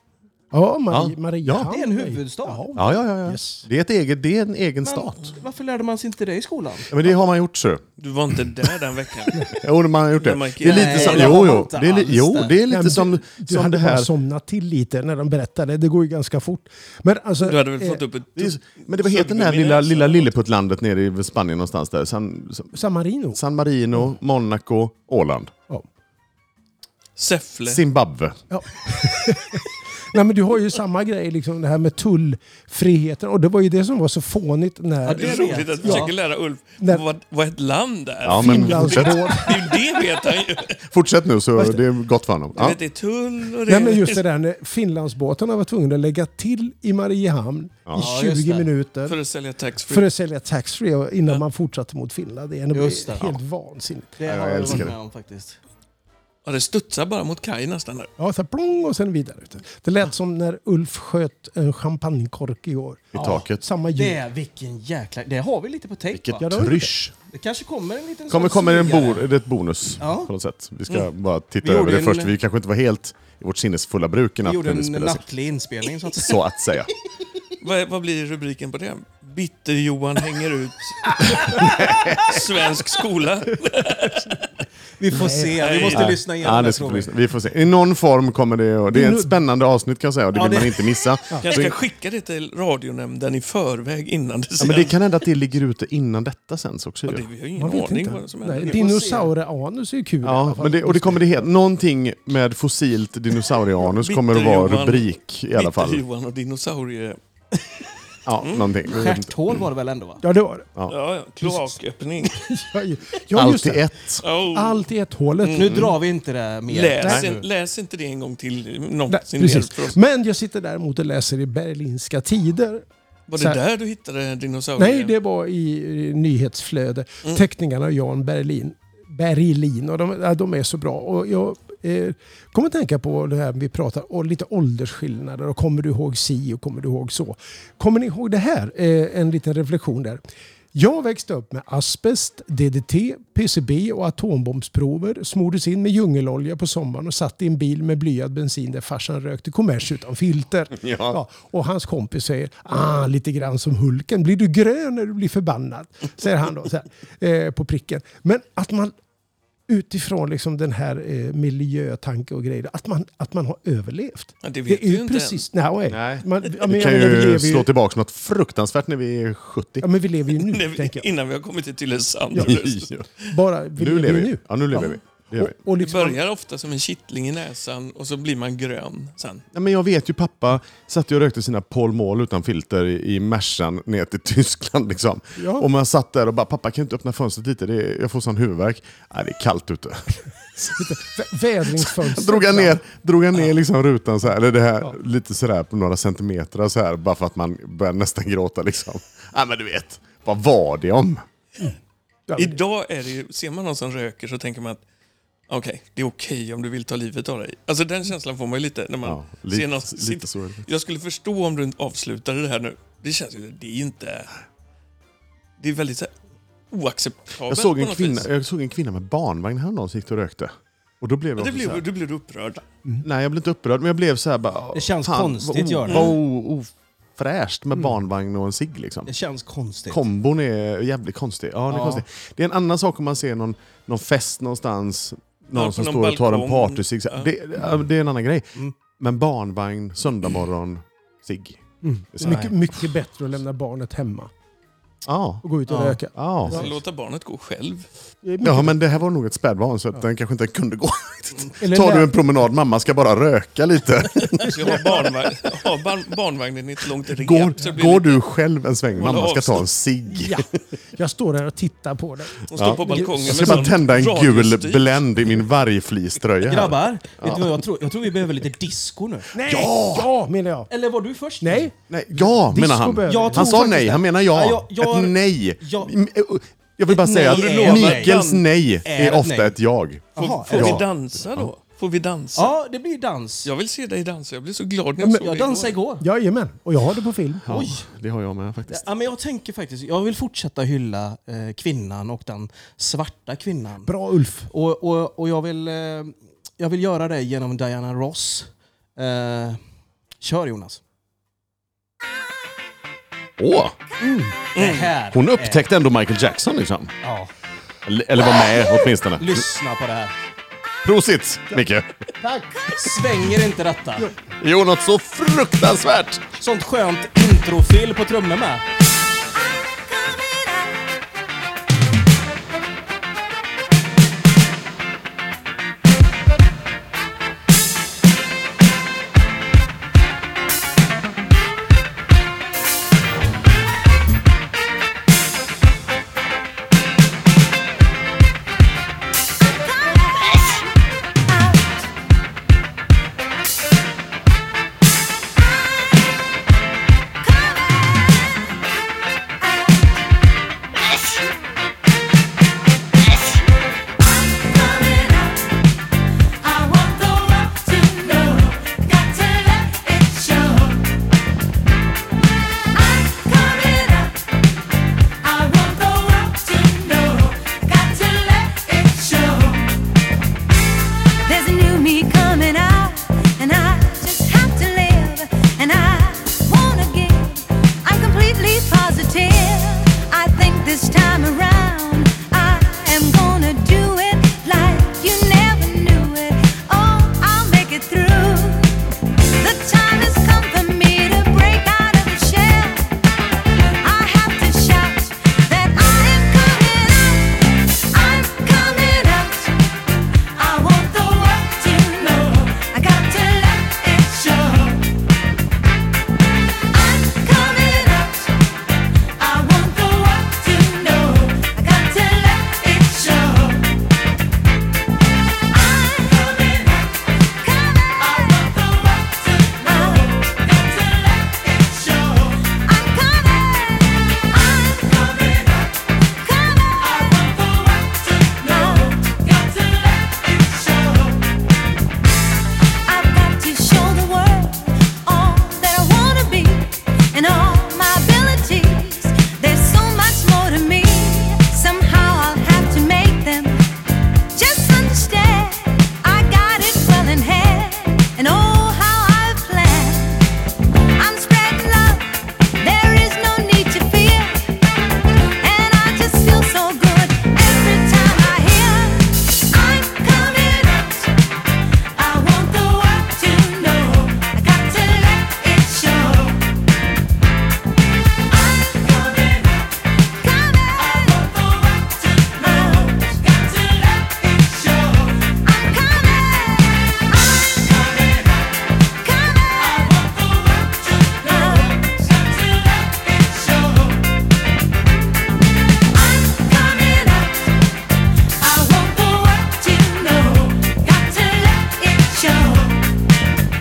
Speaker 4: ja, Marie,
Speaker 1: Ja.
Speaker 4: Mariehamn.
Speaker 3: Det är en huvudstad.
Speaker 4: Ja.
Speaker 1: Ja, ja, ja. ja.
Speaker 4: Yes.
Speaker 1: Det, är ett eget, det är en egen
Speaker 3: Men
Speaker 1: stat.
Speaker 3: Varför lärde man sig inte det i skolan?
Speaker 1: Ja, men det har man gjort, så.
Speaker 2: Du var inte där den veckan.
Speaker 1: Jo, man har gjort det.
Speaker 2: Men man-
Speaker 1: Det är lite
Speaker 3: Nej,
Speaker 1: som...
Speaker 3: det har
Speaker 1: Jo,
Speaker 3: man
Speaker 1: jo.
Speaker 3: inte
Speaker 1: Det är, li-
Speaker 3: alls
Speaker 1: jo,
Speaker 3: där.
Speaker 1: det är
Speaker 4: Nej,
Speaker 1: lite
Speaker 4: men
Speaker 1: som,
Speaker 4: du, du
Speaker 1: som
Speaker 4: hade
Speaker 1: det
Speaker 4: bara
Speaker 1: här...
Speaker 4: somnat till lite när de berättade. Det går ju ganska fort. Men alltså,
Speaker 2: Du hade väl
Speaker 4: eh,
Speaker 2: fått upp ett...
Speaker 1: Det är, men det var helt den här
Speaker 2: Suddgummi
Speaker 1: lilla,
Speaker 2: näsa.
Speaker 1: lilla lilleputtlandet nere i Spanien någonstans där. San,
Speaker 4: eh, San Marino.
Speaker 1: San Marino, Monaco, Åland.
Speaker 4: Ja.
Speaker 2: Säffle.
Speaker 1: Zimbabwe.
Speaker 4: Nej, men du har ju samma grej, liksom, det här med tullfriheten. Och det var ju det som var så fånigt när
Speaker 2: Det är
Speaker 3: Jag vet.
Speaker 2: roligt att du
Speaker 4: Ja.
Speaker 2: försöker lära Ulf
Speaker 4: Nej.
Speaker 2: vad, vad ett land är.
Speaker 1: Ja, men fortsätt,
Speaker 4: Finlandsbåt...
Speaker 2: Det är ju det vet han ju.
Speaker 1: fortsätt nu så
Speaker 4: Fast-
Speaker 1: det är gott för honom.
Speaker 2: Du
Speaker 1: Ja.
Speaker 2: vet, det är liksom tull och det
Speaker 4: Nej men just det där när Finlandsbåtarna var tvungna att lägga till i Mariehamn
Speaker 1: Ja,
Speaker 4: i
Speaker 3: just
Speaker 4: 20
Speaker 3: det.
Speaker 4: minuter
Speaker 2: för
Speaker 4: för,
Speaker 2: att sälja taxfree.
Speaker 4: att sälja taxfree och innan man fortsatte mot Finland igen. Det
Speaker 3: Just
Speaker 4: var
Speaker 3: det.
Speaker 4: helt vansinnigt.
Speaker 3: Det
Speaker 1: Ja, jag
Speaker 3: har jag
Speaker 1: älskar
Speaker 3: varit
Speaker 1: det.
Speaker 3: med om faktiskt.
Speaker 2: Ja, det studsar bara mot kaj nästan. Där.
Speaker 4: Ja, så här, plong och sen vidare. ut. Det lät som när Ulf sköt en champagnekork igår.
Speaker 1: I taket.
Speaker 4: Samma ljud.
Speaker 3: Det, vilken jäkla... Det har vi lite på tejp va?
Speaker 4: Ja, det har vi
Speaker 1: Trysch.
Speaker 3: Det kanske kommer en liten...
Speaker 1: Kommer,
Speaker 3: sån
Speaker 1: kommer en
Speaker 3: sugare.
Speaker 1: bo, ett bonus
Speaker 3: Ja. Mm.
Speaker 1: på något sätt. Vi ska bara titta
Speaker 3: Vi
Speaker 1: över
Speaker 3: gjorde
Speaker 1: det
Speaker 3: en-
Speaker 1: först. Vi kanske inte var helt i vårt sinnesfulla bruk i
Speaker 3: Vi
Speaker 1: natt
Speaker 3: gjorde
Speaker 1: när vi
Speaker 3: en
Speaker 1: spelade.
Speaker 3: nattlig inspelning så att
Speaker 1: Så att säga.
Speaker 2: Vad, vad blir rubriken på det? Bitter-Johan hänger ut svensk skola.
Speaker 3: Vi får se, vi
Speaker 2: Nej.
Speaker 3: måste
Speaker 2: Nej.
Speaker 3: lyssna igenom
Speaker 1: Ja,
Speaker 3: det
Speaker 1: det
Speaker 3: tror
Speaker 1: ska
Speaker 3: vi.
Speaker 1: vi, lyssna. vi får se. I någon form kommer det. Och det är
Speaker 4: Nu-
Speaker 1: ett spännande avsnitt kan jag säga och det
Speaker 3: Ja,
Speaker 1: vill
Speaker 3: det-
Speaker 1: man inte missa.
Speaker 2: Jag
Speaker 1: Så-
Speaker 2: ska skicka det till radionämnden i förväg innan det
Speaker 1: Ja,
Speaker 2: sänds.
Speaker 1: men det kan hända att det ligger ute innan detta sänds också.
Speaker 2: Ja,
Speaker 1: ju.
Speaker 2: det, vi har ju
Speaker 4: Man
Speaker 2: ingen
Speaker 4: vet
Speaker 2: aning
Speaker 4: inte.
Speaker 2: vad som händer.
Speaker 4: Nej,
Speaker 2: Nej,
Speaker 4: Dinosaure-anus är ju kul. i alla
Speaker 1: Ja,
Speaker 4: fall.
Speaker 1: men det, och det kommer det heta. Någonting med fossilt dinosaurieanus kommer att vara
Speaker 2: Bitter-Johan.
Speaker 1: rubrik i alla fall.
Speaker 2: Bitter-Johan och dinosaurie...
Speaker 1: Ja,
Speaker 3: Mm.
Speaker 1: någonting. Jag vet inte.
Speaker 3: Stjärthål var det väl ändå va?
Speaker 4: Ja, det var det.
Speaker 2: Ja, ja. Kloaköppning.
Speaker 4: Ja, Ja, just
Speaker 1: Allt i
Speaker 4: det.
Speaker 1: ett. Mm.
Speaker 2: Oh.
Speaker 4: Allt i ett hålet.
Speaker 3: Nu drar vi inte det mer.
Speaker 2: Läs,
Speaker 1: Nej.
Speaker 2: en, läs inte det en gång till
Speaker 4: Nej,
Speaker 2: någonsin mer för
Speaker 4: precis.
Speaker 2: oss.
Speaker 4: Men jag sitter däremot och läser i Berlinska Tider.
Speaker 2: Var
Speaker 4: Så
Speaker 2: det
Speaker 4: här-
Speaker 2: där du hittade dinosaurien?
Speaker 4: Nej, det var i eh, nyhetsflöde. Teckningarna av Jan Berlin. Berlin och de, ja, de är så bra. Och jag eh, kommer att tänka på det här vi pratar om, lite åldersskillnader. Och kommer du ihåg si och kommer du ihåg så? Kommer ni ihåg det här? Eh, en liten reflektion där. Jag växte upp med asbest, DDT, PCB och atombombsprover. Smordes in med djungelolja på sommaren och satt i en bil med blyad bensin där farsan rökte kommers utan filter.
Speaker 1: Ja.
Speaker 4: Ja, och hans kompis säger, ah, lite grann som Hulken, blir du grön när du blir förbannad? Säger han då, så här, eh, på pricken. Men att man utifrån liksom den här eh, miljötanke och grejer, att man, att man har överlevt.
Speaker 2: Ja, det vet
Speaker 4: Det är
Speaker 2: vi ju
Speaker 4: ju
Speaker 2: inte
Speaker 4: precis... Nej,
Speaker 1: Nej.
Speaker 4: Man, ja, men,
Speaker 1: Vi
Speaker 4: jag
Speaker 1: kan
Speaker 4: menar, vi
Speaker 1: ju
Speaker 4: lever ju,
Speaker 1: slå tillbaka något fruktansvärt när vi är 70.
Speaker 4: ja, men vi lever ju nu,
Speaker 2: än. Nej, vi-
Speaker 4: tänker jag.
Speaker 2: Innan vi har kommit till Tylösand.
Speaker 4: Bara, vi
Speaker 1: Nu lever
Speaker 4: ju
Speaker 1: vi. Ja, nu lever vi. Det gör vi.
Speaker 4: Och, och
Speaker 2: Det
Speaker 4: liksom,
Speaker 2: börjar ofta som en kittling i näsan och så blir man grön sen.
Speaker 1: Ja, men jag vet ju, pappa satt ju och rökte sina Pall Mall utan filter i i Mercan ner till Tyskland. Liksom.
Speaker 4: Ja.
Speaker 1: Och man satt där och bara, pappa kan du inte öppna fönstret lite? Det är, jag får sån huvudvärk. Nej, det är kallt ute.
Speaker 4: vä- vädringsfönster.
Speaker 1: drog jag ner, drog jag ner liksom rutan så här, eller det här, lite sådär på några centimeter så här, bara för att man börjar nästan gråta liksom. Ja men du vet, vad var det om?
Speaker 4: Ja, men-
Speaker 2: Idag är det ju, ser man någon som röker så tänker man att okej, det är okej om du vill ta livet av dig. Alltså den känslan får man ju lite när man
Speaker 1: Ja,
Speaker 2: ser
Speaker 1: lite,
Speaker 2: någon
Speaker 1: lite
Speaker 2: sitt,
Speaker 1: så. är det.
Speaker 2: Jag skulle förstå om du avslutade det här nu. Det känns ju, det är inte... Det är väldigt så här, oacceptabelt
Speaker 1: Jag såg,
Speaker 2: på
Speaker 1: en
Speaker 2: något
Speaker 1: kvinna,
Speaker 2: vis.
Speaker 1: jag såg en kvinna med barnvagn häromdagen som gick och rökte. Och då blev
Speaker 2: Ja,
Speaker 1: jag
Speaker 2: det
Speaker 1: också så här,
Speaker 2: blev, du blev upprörd.
Speaker 1: Nej, jag blev inte upprörd, men jag blev så här bara...
Speaker 3: Det känns konstigt,
Speaker 1: vad o-
Speaker 3: gör det.
Speaker 1: Vad o- ofräscht med barnvagn och en cigg liksom.
Speaker 3: Det känns konstigt.
Speaker 1: Kombon är jävligt konstig. Ja, den är
Speaker 3: Ja.
Speaker 1: konstig. Det är en annan sak om man ser någon, någon fest någonstans, någon
Speaker 2: på
Speaker 1: som
Speaker 2: någon
Speaker 1: står och tar en
Speaker 2: balkong.
Speaker 1: partycigg.
Speaker 2: Ja.
Speaker 1: Det, ja, det är en annan grej.
Speaker 3: Mm.
Speaker 1: Men barnvagn, söndagmorgon, cigg.
Speaker 4: Mm.
Speaker 1: Det är
Speaker 4: Det
Speaker 1: så
Speaker 4: är
Speaker 1: här.
Speaker 4: mycket, mycket bättre att lämna barnet hemma
Speaker 1: Ja.
Speaker 4: och gå ut och
Speaker 3: Ja.
Speaker 4: röka.
Speaker 1: Ja.
Speaker 2: Så låta barnet gå själv.
Speaker 4: Det är mycket
Speaker 1: ja, men det här var nog ett spädbarn så att den kanske inte kunde gå.
Speaker 4: Eller
Speaker 1: Tar du
Speaker 4: lä-
Speaker 1: en promenad, mamma ska bara röka lite.
Speaker 2: Så jag har, barnvagn, jag har barn, barnvagnen i ett långt rep. så det
Speaker 1: Går,
Speaker 2: blir
Speaker 1: går
Speaker 2: lite-
Speaker 1: du själv en sväng,
Speaker 2: Hålla
Speaker 1: mamma ska ta en
Speaker 2: avstånd.
Speaker 1: cigg.
Speaker 4: Ja, jag står där och tittar på det.
Speaker 2: Hon står
Speaker 1: Ja.
Speaker 2: på balkongen
Speaker 1: Jag ska bara
Speaker 2: sån
Speaker 1: tända en gul
Speaker 2: radiostyr.
Speaker 1: Blend i min vargfleecetröja. här.
Speaker 3: Grabbar, vet du vad jag tror? Jag tror vi behöver lite disco nu.
Speaker 4: Nej! Ja, menar jag.
Speaker 3: Eller var du först?
Speaker 4: Nej,
Speaker 1: Nej, ja, menar han.
Speaker 4: behöver Jag vi.
Speaker 1: Han
Speaker 3: tror
Speaker 1: sa
Speaker 3: faktiskt
Speaker 1: nej,
Speaker 3: det.
Speaker 1: han menar ja.
Speaker 3: Ja, jag- jag-
Speaker 1: ett nej.
Speaker 3: jag-
Speaker 1: M- jag vill bara
Speaker 3: Ett
Speaker 1: säga
Speaker 3: nej
Speaker 2: är
Speaker 1: att
Speaker 2: ett nej.
Speaker 1: Mikaels nej är
Speaker 3: Är ett
Speaker 1: ofta
Speaker 3: nej.
Speaker 1: ett jag.
Speaker 2: Får,
Speaker 3: Jaha,
Speaker 2: får
Speaker 1: Ja.
Speaker 2: vi dansa då? Får vi dansa?
Speaker 3: Ja, det blir dans.
Speaker 2: Jag vill se dig dansa. Jag blev så glad när
Speaker 4: men
Speaker 2: jag såg
Speaker 3: Jag
Speaker 2: dig
Speaker 3: dansade
Speaker 2: igår.
Speaker 3: igår.
Speaker 4: Jajamän, och jag har det på film.
Speaker 1: Ja,
Speaker 3: Oj.
Speaker 1: det har jag med faktiskt.
Speaker 3: Ja, men jag tänker faktiskt, jag vill fortsätta hylla eh, kvinnan och den svarta kvinnan.
Speaker 4: Bra Ulf.
Speaker 3: Och, och, och jag, vill, eh, jag vill göra det genom Diana Ross. Eh, kör Jonas.
Speaker 1: Åh,
Speaker 3: Det här
Speaker 1: hon
Speaker 3: är-
Speaker 1: upptäckte ändå Michael Jackson liksom.
Speaker 3: Ja,
Speaker 1: Eller, eller var med åtminstone.
Speaker 3: lyssna på det här.
Speaker 1: Prosit, Micke.
Speaker 4: Tack!
Speaker 3: Svänger inte detta?
Speaker 1: Jo, något så fruktansvärt!
Speaker 3: Sånt skönt introfil på trummorna.
Speaker 7: There's a new me coming out, and I just have to live, and I wanna give. I'm completely positive. I think this time around I am gonna do it like you never knew it. Oh, I'll make it through. The time has come for me to break out of the shell. I have to shout that I am coming out. I'm coming out. I want the world to know I got to let it show I'm coming out I want the world to know I got to let it show I'm coming out I want the world to know Got to let it show I'm coming I'm coming out I want the world to know Got to let it show I've got to show the world all that I wanna be and all my abilities. There's so much more to me. Somehow I'll have to make them just understand. I got it well in hand, and oh how I've planned. I'm spreading love. There is no need to fear, and I just feel so good every time I hear I'm coming out. I want the world to know I got to let it show I'm coming out, coming I want the world to know Got to let it show I'm coming I'm coming out, coming I want the world to know Got to let it show I'm coming out I want the world to know. Got to let it show.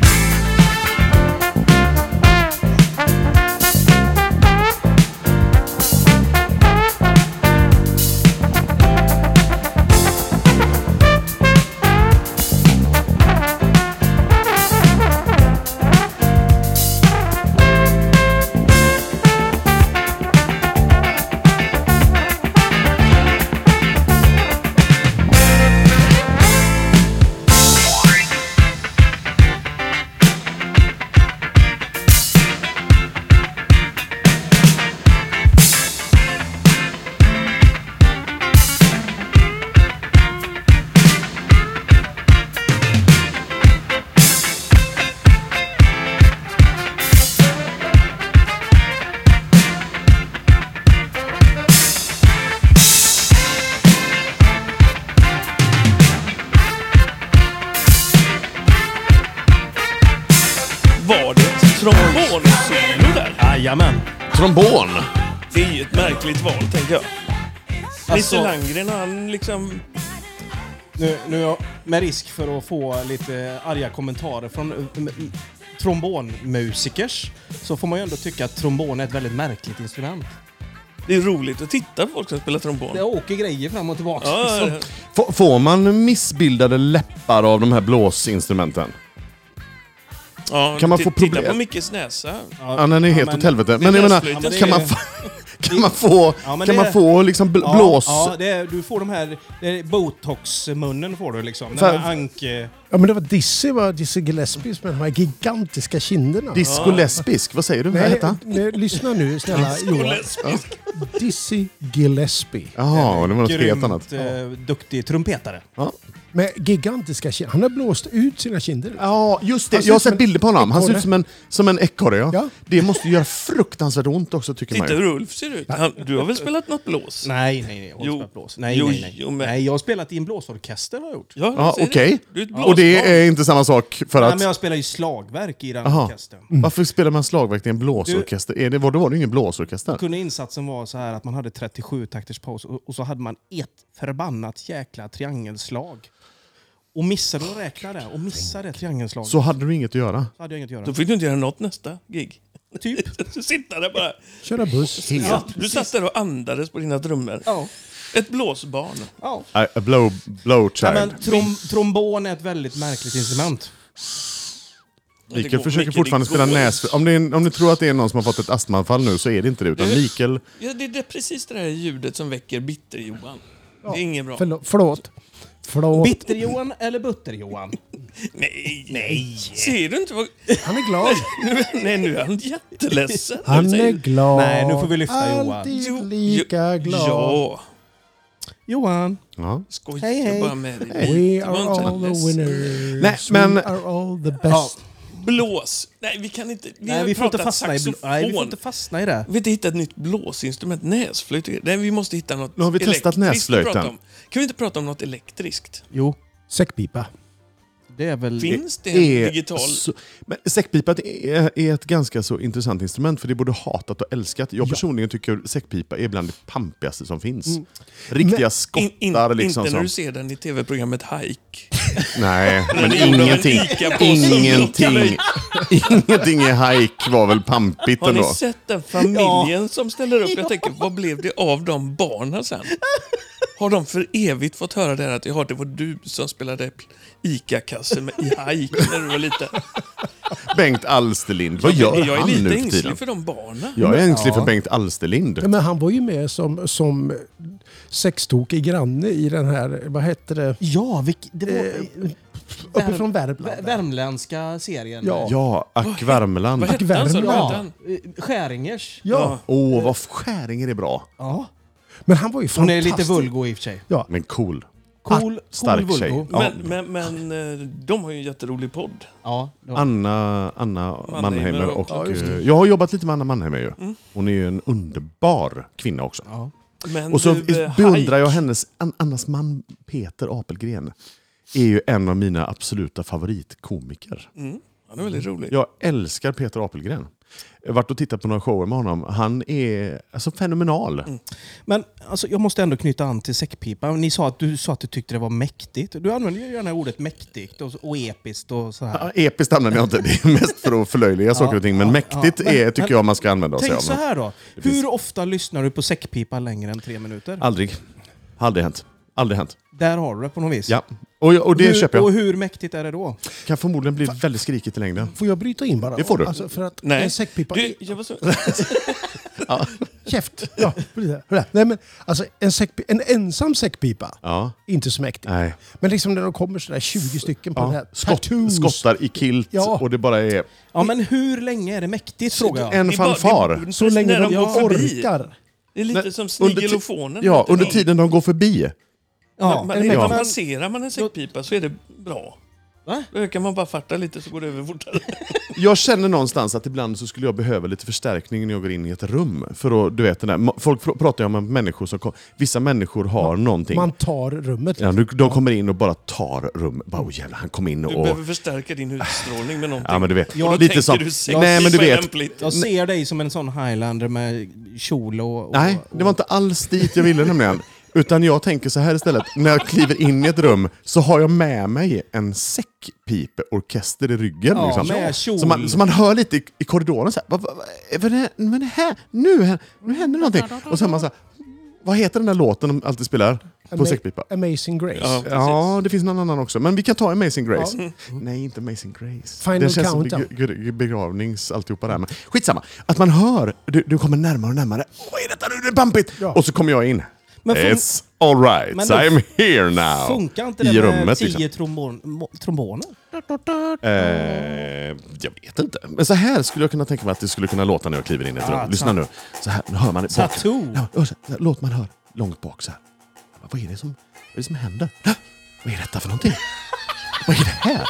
Speaker 2: Var det trombonsolo där?
Speaker 3: Jajamän.
Speaker 1: Trombon!
Speaker 2: Det är ju ett märkligt val, tänker jag. Nisse
Speaker 3: Alltså-
Speaker 2: Landgren, han liksom...
Speaker 3: Nu, nu är jag med risk för att få lite arga kommentarer från eh, m- m- trombonmusikers så får man ju ändå tycka att trombon är ett väldigt märkligt instrument.
Speaker 2: Det är roligt att titta på folk som spelar trombon.
Speaker 3: Det åker grejer fram och tillbaka.
Speaker 2: Ja,
Speaker 3: liksom.
Speaker 2: ja,
Speaker 1: F- får man missbildade läppar av de här blåsinstrumenten?
Speaker 2: ja.
Speaker 1: Kan man
Speaker 2: Ti-
Speaker 1: få
Speaker 2: Titta
Speaker 1: problem?
Speaker 2: på Mickes näsa.
Speaker 1: Ja, den är
Speaker 3: Ja,
Speaker 1: helt
Speaker 3: men-
Speaker 1: åt helvete.
Speaker 2: det
Speaker 1: Men jag
Speaker 2: där
Speaker 1: menar,
Speaker 2: slöjten
Speaker 3: Ja, men
Speaker 1: kan
Speaker 3: det-
Speaker 1: man, f- kan man få,
Speaker 3: Ja, men
Speaker 1: kan
Speaker 3: det-
Speaker 1: man få liksom bl-
Speaker 3: Ja,
Speaker 1: blås...
Speaker 3: Ja, det är, du får de här det är botox-munnen får du liksom. Den
Speaker 1: Fan.
Speaker 3: här anke...
Speaker 4: Ja, men det var Dizzy, var Dizzy Gillespie med de här gigantiska kinderna.
Speaker 1: Disco lesbisk, vad säger du? Vad
Speaker 4: Nej,
Speaker 1: heter han?
Speaker 4: nej, lyssna nu snälla Johan. Dizzy Gillespie.
Speaker 1: Jaha, det var något helt
Speaker 3: grymt,
Speaker 1: annat.
Speaker 3: eh, duktig trumpetare.
Speaker 1: Ja,
Speaker 4: Med gigantiska kinder. Han har blåst ut sina kinder.
Speaker 1: ja just det.
Speaker 4: Han ser
Speaker 1: Jag har
Speaker 4: ut som
Speaker 1: sett
Speaker 4: en
Speaker 1: bilder på honom. Han ser
Speaker 4: ekorre.
Speaker 1: ut som en, som en ekorre, ja.
Speaker 4: Ja.
Speaker 1: Det måste göra fruktansvärt ont också, tycker man
Speaker 2: Titta
Speaker 1: ju.
Speaker 2: hur Ulf ser ut. Han, du har väl spelat något blås?
Speaker 3: Nej, nej, nej. Jag
Speaker 2: Jo.
Speaker 3: har spelat blås. Nej,
Speaker 2: Jo,
Speaker 3: nej, nej.
Speaker 2: jo, men-
Speaker 3: nej. Jag har spelat i en blåsorkester har jag gjort.
Speaker 2: Ja,
Speaker 1: Ja,
Speaker 2: jag säger
Speaker 1: okej.
Speaker 2: det. Du är ett
Speaker 1: Och det
Speaker 2: blåsbarn.
Speaker 1: är inte samma sak för
Speaker 3: Nej,
Speaker 1: att...
Speaker 3: men jag spelar ju slagverk i den
Speaker 1: Aha.
Speaker 3: orkestern.
Speaker 1: Varför spelar man slagverk i en blåsorkester? Är det, var, då var det ju ingen blåsorkester.
Speaker 3: kunde insatsen vara så här att man hade 37 takters paus och, och så hade man ett förbannat jäkla triangelslag. Och missade att räkna det och missade triangelslaget
Speaker 1: Så
Speaker 3: så
Speaker 1: hade du inget att göra.
Speaker 3: hade jag inget att
Speaker 2: Då
Speaker 3: göra.
Speaker 2: fick du inte göra något nästa gig.
Speaker 3: Typ.
Speaker 2: Du sitter där bara.
Speaker 4: Köra buss.
Speaker 2: Ja, du satt där och andades på dina trummor.
Speaker 3: Ja.
Speaker 2: Ett blåsbarn.
Speaker 3: ja.
Speaker 1: A, a blow,
Speaker 3: Nej,
Speaker 1: blowchild.
Speaker 3: men trom, trombon är ett väldigt märkligt instrument.
Speaker 2: Det
Speaker 1: Mikael
Speaker 2: går-
Speaker 1: försöker
Speaker 2: Micke,
Speaker 1: fortfarande
Speaker 2: det
Speaker 1: spela
Speaker 2: går.
Speaker 1: näs... Om, det är, om ni tror att det är någon som har fått ett astmaanfall nu så är det inte det. Utan Mikael...
Speaker 2: Ja, det är det, precis det här ljudet som väcker bitter-Johan. Det är inget bra.
Speaker 4: Förlåt. Förlåt. Förlåt.
Speaker 3: Bitter-Johan eller Butter-Johan?
Speaker 2: Nej! Nej! Ser du inte vad...
Speaker 4: Han är glad.
Speaker 2: Nu, nej, nu är han jätteledsen.
Speaker 4: Han är
Speaker 2: Säger-
Speaker 4: glad.
Speaker 3: Nej, nu får vi lyfta
Speaker 4: Alltid
Speaker 2: Jo,
Speaker 4: lika
Speaker 2: jo,
Speaker 4: glad.
Speaker 2: Ja,
Speaker 3: Johan.
Speaker 1: Ja.
Speaker 2: skoja
Speaker 3: Hej, hej.
Speaker 2: bara med dig.
Speaker 4: We
Speaker 2: Det var
Speaker 4: are
Speaker 2: inte
Speaker 4: all
Speaker 2: ledsen.
Speaker 4: the winners.
Speaker 1: Nej, men-
Speaker 4: We are all the best.
Speaker 2: Blås! Nej, vi kan inte... Vi
Speaker 3: Nej,
Speaker 2: har
Speaker 3: vi får inte
Speaker 2: pratat
Speaker 3: fastna i, bl-
Speaker 2: saxofon.
Speaker 3: nej, vi får inte fastna i det.
Speaker 2: Vi har inte hittat ett nytt blåsinstrument. Näsflöjt? Nej, vi måste hitta något
Speaker 1: Nu har vi testat
Speaker 2: elektriskt att
Speaker 1: näsflöjten.
Speaker 2: prata om. Kan vi inte prata om något elektriskt?
Speaker 3: Jo,
Speaker 4: Säckpipa.
Speaker 3: det är väl...
Speaker 2: Finns det en
Speaker 1: Är
Speaker 2: digital...
Speaker 1: så, men säckpipa är, är ett ganska så intressant instrument för det är både hatat och älskat. Jag personligen tycker säckpipa är bland det pampigaste som finns. Riktiga
Speaker 4: Men-
Speaker 2: Mm. In,
Speaker 1: skottar
Speaker 2: in,
Speaker 1: liksom.
Speaker 2: inte när du
Speaker 1: som,
Speaker 2: ser den i tv-programmet Hike.
Speaker 1: nej, men
Speaker 2: det är gjord av en
Speaker 1: ingenting.
Speaker 2: Ica-påse som
Speaker 1: Ingenting,
Speaker 2: lockar
Speaker 1: ingenting i hajk var väl pampigt
Speaker 2: Har ni
Speaker 1: ändå.
Speaker 2: sett den familjen som ställer upp? Jag tänker, vad blev det av de barnen sen? Har de för evigt fått höra det här att ja, det var du som spelade pl- ICA-kasse med- i hajk när du var liten?
Speaker 1: Bengt Alsterlind, vad
Speaker 2: Jag
Speaker 1: gör
Speaker 2: är
Speaker 1: han
Speaker 2: lite
Speaker 1: nu för tiden?
Speaker 2: ängslig för de barnen.
Speaker 1: Jag är ängslig för Bengt Alsterlind.
Speaker 4: Ja, men han var ju med som, som sextokig granne i den här, vad hette det,
Speaker 3: Ja, vilk, det var... Vär-
Speaker 4: uppifrån Värmland.
Speaker 3: värmländska serien.
Speaker 4: Ja.
Speaker 1: Ja, Ack Värmland.
Speaker 2: Vad hette han? sa du? Vad hette
Speaker 4: Värmland.
Speaker 2: han?
Speaker 3: Eh, Skäringers.
Speaker 4: ja,
Speaker 1: Åh, vad Skäringer är bra.
Speaker 3: Ja.
Speaker 4: men han var ju
Speaker 3: Hon är
Speaker 4: fantastisk.
Speaker 3: lite vulgo i och för sig.
Speaker 1: Men cool.
Speaker 3: Cool,
Speaker 1: Stark
Speaker 3: cool
Speaker 1: tjej.
Speaker 3: vulgo.
Speaker 1: Ja.
Speaker 2: Men, men, men eh, de har ju en jätterolig podd.
Speaker 3: Ja. det var-
Speaker 1: Anna, Anna Mannheimer och...
Speaker 2: Ja,
Speaker 4: just
Speaker 1: eh, jag har jobbat lite med Anna Mannheimer ju. Hon är ju en underbar kvinna också.
Speaker 2: Men
Speaker 1: Och så
Speaker 2: du, eh,
Speaker 1: beundrar jag
Speaker 2: Hike,
Speaker 1: hennes... An, Annas man Peter Apelgren är ju en av mina absoluta favoritkomiker.
Speaker 2: Han är väldigt rolig.
Speaker 1: Jag älskar Peter Apelgren. Jag har varit och tittat på några shower med honom. Han är alltså fenomenal.
Speaker 3: Men alltså, jag måste ändå knyta an till säckpipan. Ni sa att du sa att du tyckte det var mäktigt. Du använder ju gärna ordet mäktigt och, och episkt och så här.
Speaker 1: Ja, Episkt använder jag inte, det är mest för att förlöjliga saker och ting. Men
Speaker 3: ja,
Speaker 1: mäktigt
Speaker 3: ja, men-
Speaker 1: är, tycker jag man ska använda sig
Speaker 3: Tänk
Speaker 1: av.
Speaker 3: så här då.
Speaker 1: finns-
Speaker 3: Hur ofta lyssnar du på säckpipa längre än tre minuter?
Speaker 1: Aldrig. Aldrig hänt. Aldrig hänt.
Speaker 3: Där har du det på något vis.
Speaker 1: Ja. Och, jag- och det
Speaker 3: hur,
Speaker 1: köper jag.
Speaker 3: Och hur mäktigt är det då?
Speaker 1: Kan förmodligen bli väldigt skrikigt i längden.
Speaker 4: Får jag bryta in bara?
Speaker 1: Det får du.
Speaker 4: Alltså, för att
Speaker 2: Nej.
Speaker 4: en säckpipa...
Speaker 2: Du, jag var så...
Speaker 4: Käft! Ja, precis. Hörru, Nej, men, alltså, en, säckpi- en ensam säckpipa,
Speaker 1: Ja.
Speaker 4: inte så mäktigt.
Speaker 1: Nej.
Speaker 4: Men liksom när de kommer sådär 20 stycken på den
Speaker 1: ja.
Speaker 4: här.
Speaker 1: Skott,
Speaker 4: tattoos.
Speaker 1: skottar i kilt
Speaker 4: Ja.
Speaker 1: och det bara är
Speaker 3: Ja, men hur länge är det mäktigt frågar jag.
Speaker 1: en
Speaker 2: Det är bara-
Speaker 1: fanfar.
Speaker 2: det-
Speaker 4: Så länge
Speaker 2: när
Speaker 4: de,
Speaker 2: de går förbi.
Speaker 4: orkar.
Speaker 2: Det är lite
Speaker 1: Nej,
Speaker 2: som
Speaker 1: under ti-
Speaker 2: snigelofonen.
Speaker 1: Ja,
Speaker 2: heter
Speaker 1: under
Speaker 2: den.
Speaker 1: tiden de går förbi.
Speaker 3: Ja,
Speaker 2: Men,
Speaker 4: eller-
Speaker 2: men
Speaker 4: men-
Speaker 2: passerar man en säckpipa så är det bra.
Speaker 3: Va?
Speaker 2: Då ökar man bara farta lite så går det över fortare.
Speaker 1: Jag känner någonstans att ibland så skulle jag behöva lite förstärkning när jag går in i ett rum. För att, du vet, den där, ma- folk pr- pratar ju om att människor som kom, vissa människor har någonting.
Speaker 4: Man tar rummet.
Speaker 1: Ja, nu- de kommer in och bara tar rum. Bara, oh, jävlar, han kom in
Speaker 2: Du
Speaker 1: och...
Speaker 2: behöver förstärka din utstrålning med någonting.
Speaker 1: Ja, men du vet.
Speaker 2: Och då
Speaker 1: lite
Speaker 2: tänker
Speaker 1: som...
Speaker 2: du säkert
Speaker 1: Nej, men du vet.
Speaker 2: lämpligt.
Speaker 3: jag ser dig som en sån highlander med kjol och... och
Speaker 1: Nej, det var inte alls dit jag ville nämligen. Utan jag tänker så här istället. När jag kliver in i ett rum så har jag med mig en säckpipeorkester i ryggen.
Speaker 3: Ja,
Speaker 1: liksom.
Speaker 3: med kjol.
Speaker 1: så, man, så man hör lite i, i korridoren så här. Vad, vad, vad, är det- vad är det här? Nu, här- nu händer någonting. Och så är man så här. Vad heter den där låten de alltid spelar på
Speaker 4: Ama-
Speaker 1: säckpipa?
Speaker 4: Amazing Grace.
Speaker 2: Ja. precis.
Speaker 1: Ja, det finns någon annan också. Men vi kan ta Amazing Grace.
Speaker 3: Mm.
Speaker 1: Mm. Nej, inte Amazing Grace.
Speaker 4: Final
Speaker 1: det känns
Speaker 4: Countdown.
Speaker 1: som beg- beg- begravnings alltihopa där. Men skitsamma. Att man hör, du, du kommer närmare och närmare. Åh, Vad är detta nu? Det är pampigt!
Speaker 4: Ja.
Speaker 1: Och så kommer jag in.
Speaker 3: Men fun-
Speaker 1: It's alright,
Speaker 3: Men då-
Speaker 1: I'm here now.
Speaker 3: Funkar inte det
Speaker 1: I
Speaker 3: med
Speaker 1: rummet,
Speaker 3: tio
Speaker 1: liksom.
Speaker 3: trombon, mo- tromboner?
Speaker 1: Eh, jag vet inte. Men så här skulle jag kunna tänka mig att det skulle kunna låta när jag kliver in i ett
Speaker 3: Ja,
Speaker 1: rum. Lyssna
Speaker 3: ta-
Speaker 1: nu. Så här, nu hör man det. bak.
Speaker 3: Tattoo.
Speaker 1: Ja, hör så här. Låt man höra långt bak så här. Vad är det som, vad är det som händer? Hä? Vad är detta för någonting? vad är det här?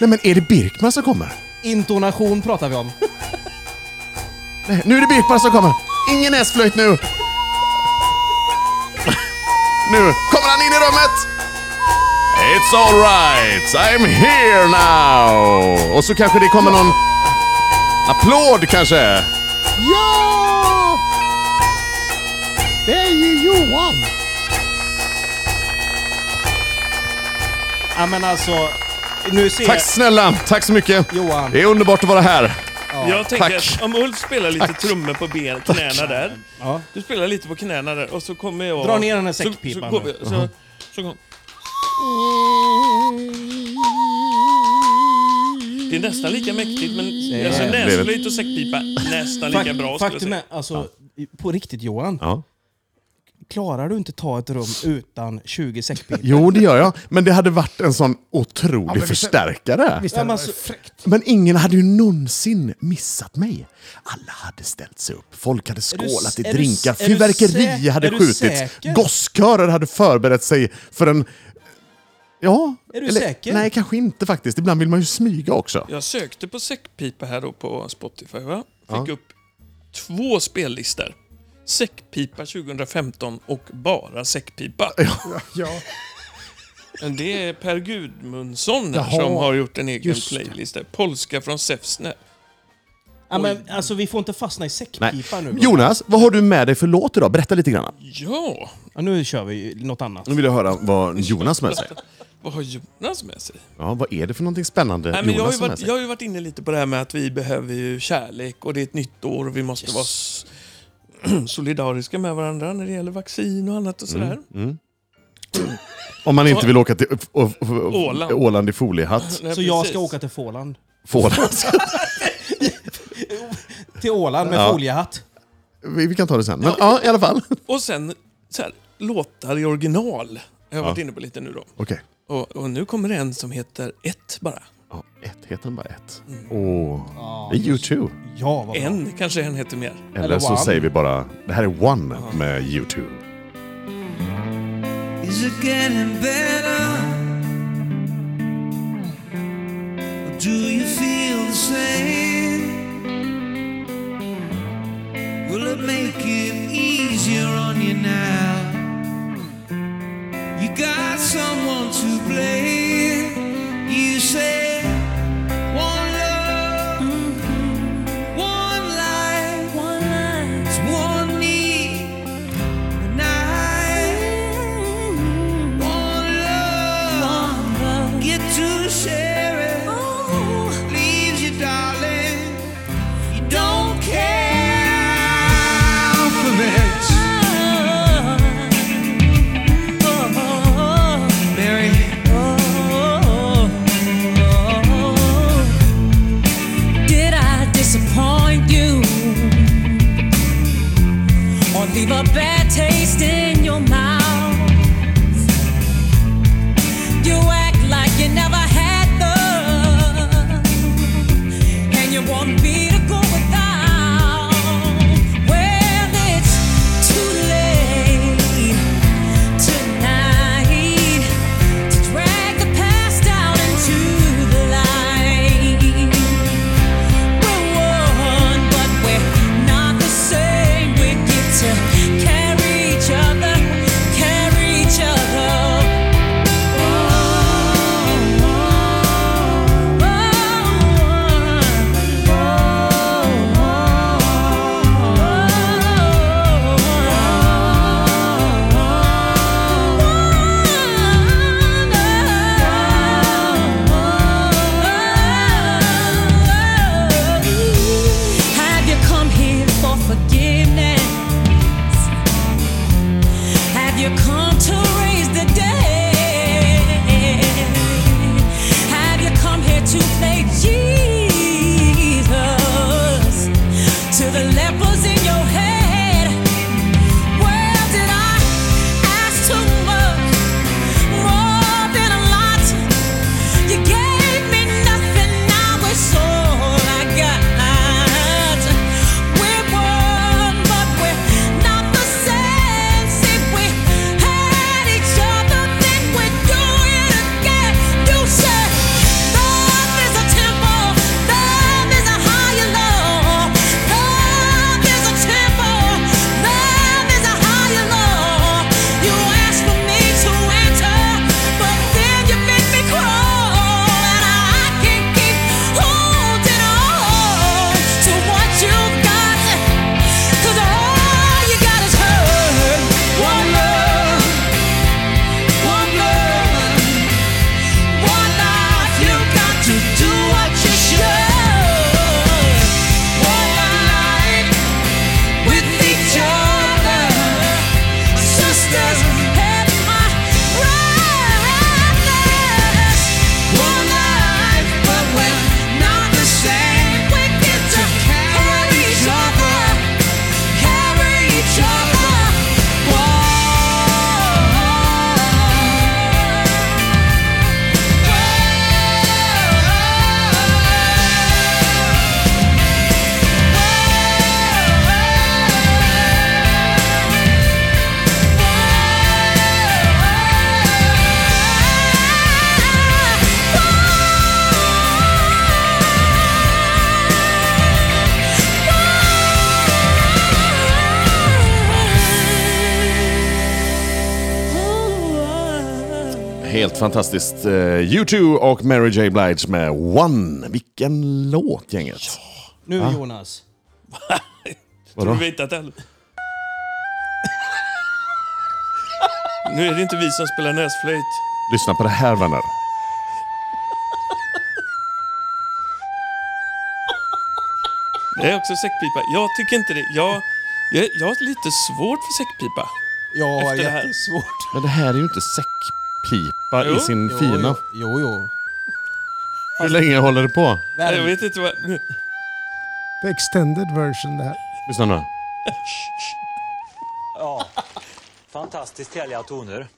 Speaker 1: Nej men är det Birkman som kommer?
Speaker 3: Intonation pratar vi om.
Speaker 1: Nej, nu är det Birkman som kommer! Ingen näsflöjt nu! nu kommer han in i rummet! It's alright, I'm here now! Och så kanske det kommer någon applåd kanske?
Speaker 4: Ja! Det är ju Johan!
Speaker 3: Ja, men alltså, nu ser
Speaker 1: Tack snälla, tack så mycket!
Speaker 3: Johan.
Speaker 1: Det är underbart att vara här.
Speaker 2: Jag tänker
Speaker 1: Tack.
Speaker 2: att om Ulf spelar lite trummor på ben, knäna där.
Speaker 3: Ja.
Speaker 2: Du spelar lite på knäna där och så kommer jag...
Speaker 3: Dra ner den här
Speaker 2: så-
Speaker 3: säckpipan Uh-huh.
Speaker 2: Så, går vi- så, så kom. Det är nästan lika mäktigt, men alltså,
Speaker 1: blev-
Speaker 2: näsflöjt och säckpipa nästan lika bra. skulle jag
Speaker 3: Faktum
Speaker 2: säga.
Speaker 3: är, alltså, i- på riktigt Johan,
Speaker 1: Ja.
Speaker 3: klarar du inte ta ett rum utan 20 säckpipor?
Speaker 1: Jo, det gör jag. Men det hade varit en sån
Speaker 4: Ja,
Speaker 1: otrolig
Speaker 4: men vi-
Speaker 1: förstärkare.
Speaker 4: Visst
Speaker 3: Ja, men
Speaker 4: hade det
Speaker 3: alltså-
Speaker 4: varit fräckt?
Speaker 1: Men ingen hade ju någonsin missat mig. Alla hade ställt sig upp, folk hade
Speaker 3: du-
Speaker 1: skålat i
Speaker 3: är du-
Speaker 1: drinkar,
Speaker 3: är du
Speaker 1: fyrverkeri
Speaker 3: säker?
Speaker 1: hade
Speaker 3: Är du
Speaker 1: skjutits,
Speaker 3: säker?
Speaker 1: gosskörer hade förberett sig för en... Ja.
Speaker 3: Är du säker?
Speaker 1: Nej, kanske inte faktiskt. Ibland vill man ju smyga också.
Speaker 2: Jag sökte på säckpipa här då på Spotify va? Fick upp två spellistor. Säckpipa 2015 och bara säckpipa.
Speaker 4: Ja.
Speaker 2: Men Det är Per Gudmundsson här
Speaker 4: Jaha,
Speaker 2: som har gjort en egen
Speaker 4: just det.
Speaker 2: playlist. där. Polska från Säfsnä.
Speaker 3: Ja, men, alltså, vi får inte fastna i säckpipa nu.
Speaker 1: Jonas, vad har du med dig för låt idag? Berätta lite grann.
Speaker 2: Ja,
Speaker 3: Ja, nu kör vi ju något annat.
Speaker 1: Nu vill jag höra vad Jonas med sig.
Speaker 2: vad har Jonas med sig?
Speaker 1: Ja, vad är det för någonting spännande
Speaker 2: Nej, men jag, har
Speaker 1: Jonas
Speaker 2: ju
Speaker 1: har med
Speaker 2: varit,
Speaker 1: sig?
Speaker 2: jag har ju varit inne lite på det här med att vi behöver ju kärlek och det är ett nytt år och vi måste vara s- solidariska med varandra när det gäller vaccin och annat och sådär.
Speaker 1: Om man inte vill åka till ö- ö- ö-
Speaker 2: Åland.
Speaker 1: Åland i foliehatt.
Speaker 2: Nej,
Speaker 3: Så jag
Speaker 2: precis.
Speaker 3: ska åka till Fåland.
Speaker 1: Får alltså.
Speaker 3: Till Åland med foliehatt.
Speaker 1: Vi vi kan ta det sen. Men ja, i alla fall. Okej.
Speaker 2: Och sen så här, låtar i original. Jag har varit inne på lite nu då. Och, och nu kommer det en som heter ett bara.
Speaker 1: Ja, ett heter den bara ett. Åh, det är U2.
Speaker 3: Ja, vad bra.
Speaker 2: En, kanske en heter mer.
Speaker 1: Eller,
Speaker 3: Eller
Speaker 1: så
Speaker 3: One.
Speaker 1: säger vi bara, det här är One med U2.
Speaker 7: Is it getting better? Or do you feel the same? Will it make it easier on you now? You got someone to blame. You say, one love, one life, one life, it's one need.
Speaker 8: Oh, Did I disappoint you? or leave a bad taste in your mouth. You act like you never had love, and you want me to go without. Well, it's too late tonight to drag the past out into the light. We're one, but we're not the same. We get to carry each other Oh,
Speaker 1: Helt fantastiskt. Eh, U2 och Mary J Blige med One. Vilken låt gänget.
Speaker 3: Nu Jonas.
Speaker 2: Tror du vi hittat den? nu är det inte vi som spelar näsflöjt.
Speaker 1: Lyssna på det här vänner.
Speaker 2: Det är också säckpipa. Jag tycker inte det. Jag, jag, jag har lite svårt för säckpipa.
Speaker 3: Jag har
Speaker 2: Efter det här.
Speaker 3: jättesvårt.
Speaker 1: Men det här är ju inte säckpipa
Speaker 2: Jo.
Speaker 1: i sin fina.
Speaker 3: Jo, jo.
Speaker 1: Hur länge håller det på?
Speaker 2: Jag vet inte vad...
Speaker 4: The extended version det här.
Speaker 1: Lyssna nu.
Speaker 9: Fantastiskt härliga toner.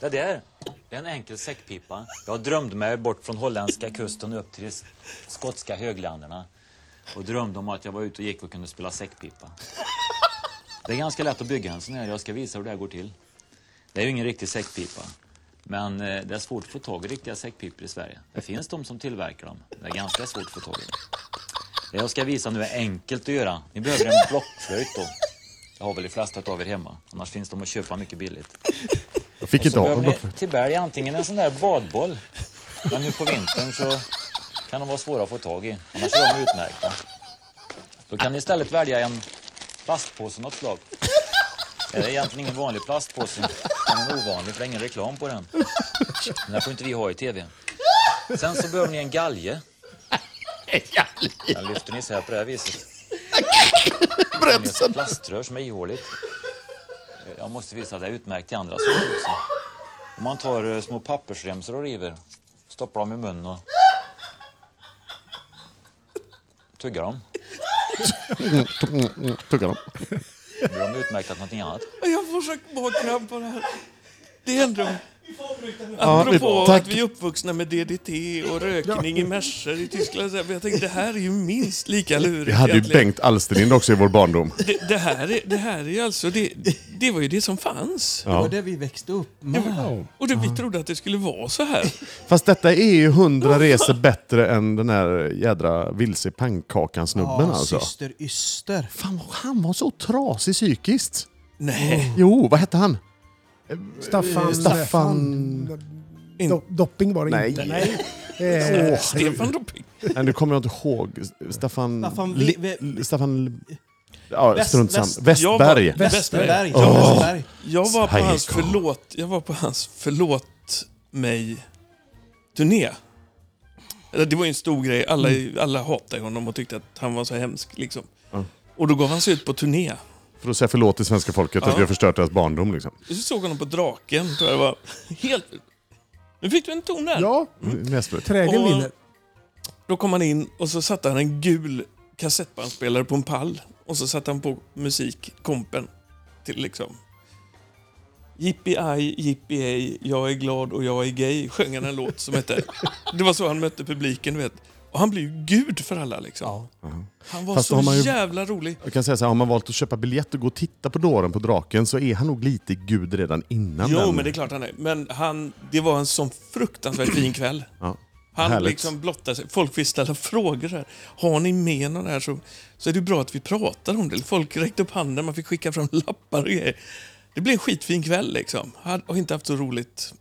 Speaker 9: Det där det är en enkel säckpipa. Jag drömde mig bort från holländska kusten upp till skotska högländerna och drömde om att jag var ute och gick och kunde spela säckpipa. Det är ganska lätt att bygga en sån här. Jag ska visa hur det här går till. Det är ju ingen riktig säckpipa. Men eh, det är svårt att få tag i riktiga säckpipor i Sverige. Det finns de som tillverkar dem. Det är ganska svårt att få tag i. Det jag ska visa nu är enkelt att göra. Ni behöver en blockflöjt då. Jag har väl de flesta av er hemma. Annars finns de att köpa mycket billigt.
Speaker 1: Alltså, Jag fick inte
Speaker 9: Så
Speaker 1: ha
Speaker 9: behöver
Speaker 1: dem.
Speaker 9: ni till berg antingen en sån där badboll. Men nu på vintern så kan de vara svåra att få tag i. Annars är de utmärkta. Då kan ni istället välja en plastpåse av något slag. Det är egentligen ingen vanlig plastpåse. Den är ovanlig för det är ingen reklam på den. Den här får inte vi ha i TV. Sen så behöver ni en galge. Den lyfter ni så här på det här viset. Bremsen! Ett plaströr som är ihåligt. Jag måste visa att det är utmärkt i andra saker också. Om man tar eh, små pappersremsor och river, stoppar dem i munnen och tuggar dem.
Speaker 1: Tugga dem.
Speaker 9: Då är de utmärkta till någonting annat.
Speaker 2: Jag får så magkramp på det här. Det är ändå...
Speaker 1: Ja, vi-
Speaker 2: Apropå
Speaker 1: tack.
Speaker 2: att vi är uppvuxna med DDT och rökning i mässor i Tyskland. så här, men Jag tänkte det här är ju minst lika lurigt.
Speaker 1: Vi hade ju
Speaker 2: egentligen.
Speaker 1: Bengt Alsterlind också i vår barndom.
Speaker 2: Det, det, här är, det här är ju alltså... Det, det var ju det som fanns.
Speaker 3: Det var det vi växte upp med.
Speaker 2: Och det, vi trodde att det skulle vara så här.
Speaker 1: Fast detta är ju hundra resor bättre än den här jädra vilse i pannkakan-snubben
Speaker 3: Ja,
Speaker 1: alltså.
Speaker 3: syster Yster.
Speaker 1: Fan, han var så trasig psykiskt.
Speaker 2: Nej,
Speaker 1: Jo, vad hette han?
Speaker 4: Eh, Staffan...
Speaker 1: Staffan...
Speaker 4: Do, dopping var det
Speaker 1: Nej.
Speaker 4: inte. Eh,
Speaker 1: Åh,
Speaker 2: Stefan Dopping.
Speaker 1: Nej, nu kommer jag inte ihåg. Staffan...
Speaker 3: Staffan
Speaker 1: Li-
Speaker 3: Vi-
Speaker 1: Li- Staffan... Li- Ja,
Speaker 3: Väst-
Speaker 1: strunt samma.
Speaker 3: Väst-
Speaker 1: Västberg.
Speaker 2: Jag var- Västberg.
Speaker 3: Västerberg. Ja,
Speaker 1: Åh.
Speaker 3: Västerberg.
Speaker 2: Jag var på hans
Speaker 1: Psycho.
Speaker 2: förlåt, jag var på hans förlåt mig-turné. Eller, Det var ju en stor grej. Alla, alla hatade honom och tyckte att han var så hemsk. Liksom. Och då gav han sig ut på turné.
Speaker 1: För att säga förlåt till svenska folket att vi har förstört deras barndom. Liksom.
Speaker 2: Jag såg honom på Draken, tror jag det var. Helt... Nu fick du en ton där.
Speaker 4: ja,
Speaker 1: Näsblöt.
Speaker 4: trägen
Speaker 2: Och-
Speaker 4: vinner.
Speaker 2: Då kom han in och så satte han en gul kassettbandspelare på en pall. Och så satte han på musik, kompen. Till liksom... Jippie-aj, jippie jag är glad och jag är gay, sjöng han en låt som hette. Det var så han mötte publiken, du vet. Och han blev ju gud för alla liksom. Han var
Speaker 1: Fast då
Speaker 2: så
Speaker 1: har man ju-
Speaker 2: jävla rolig.
Speaker 1: Jag kan säga så här, har man valt att köpa biljett och gå och titta på dåren på draken så är han nog lite gud redan innan
Speaker 2: Jo,
Speaker 1: den.
Speaker 2: men det är klart han är. Men han, det var en sån fruktansvärt fin kväll.
Speaker 1: Ja.
Speaker 2: Han
Speaker 1: Härligt.
Speaker 2: liksom blottar sig. Folk vill ställa frågor här. Har ni med någon här så, så är det bra att vi pratar om det. Folk räckte upp handen, man fick skicka fram lappar och grejer. Det blev en skitfin kväll liksom. Han har inte haft så roligt.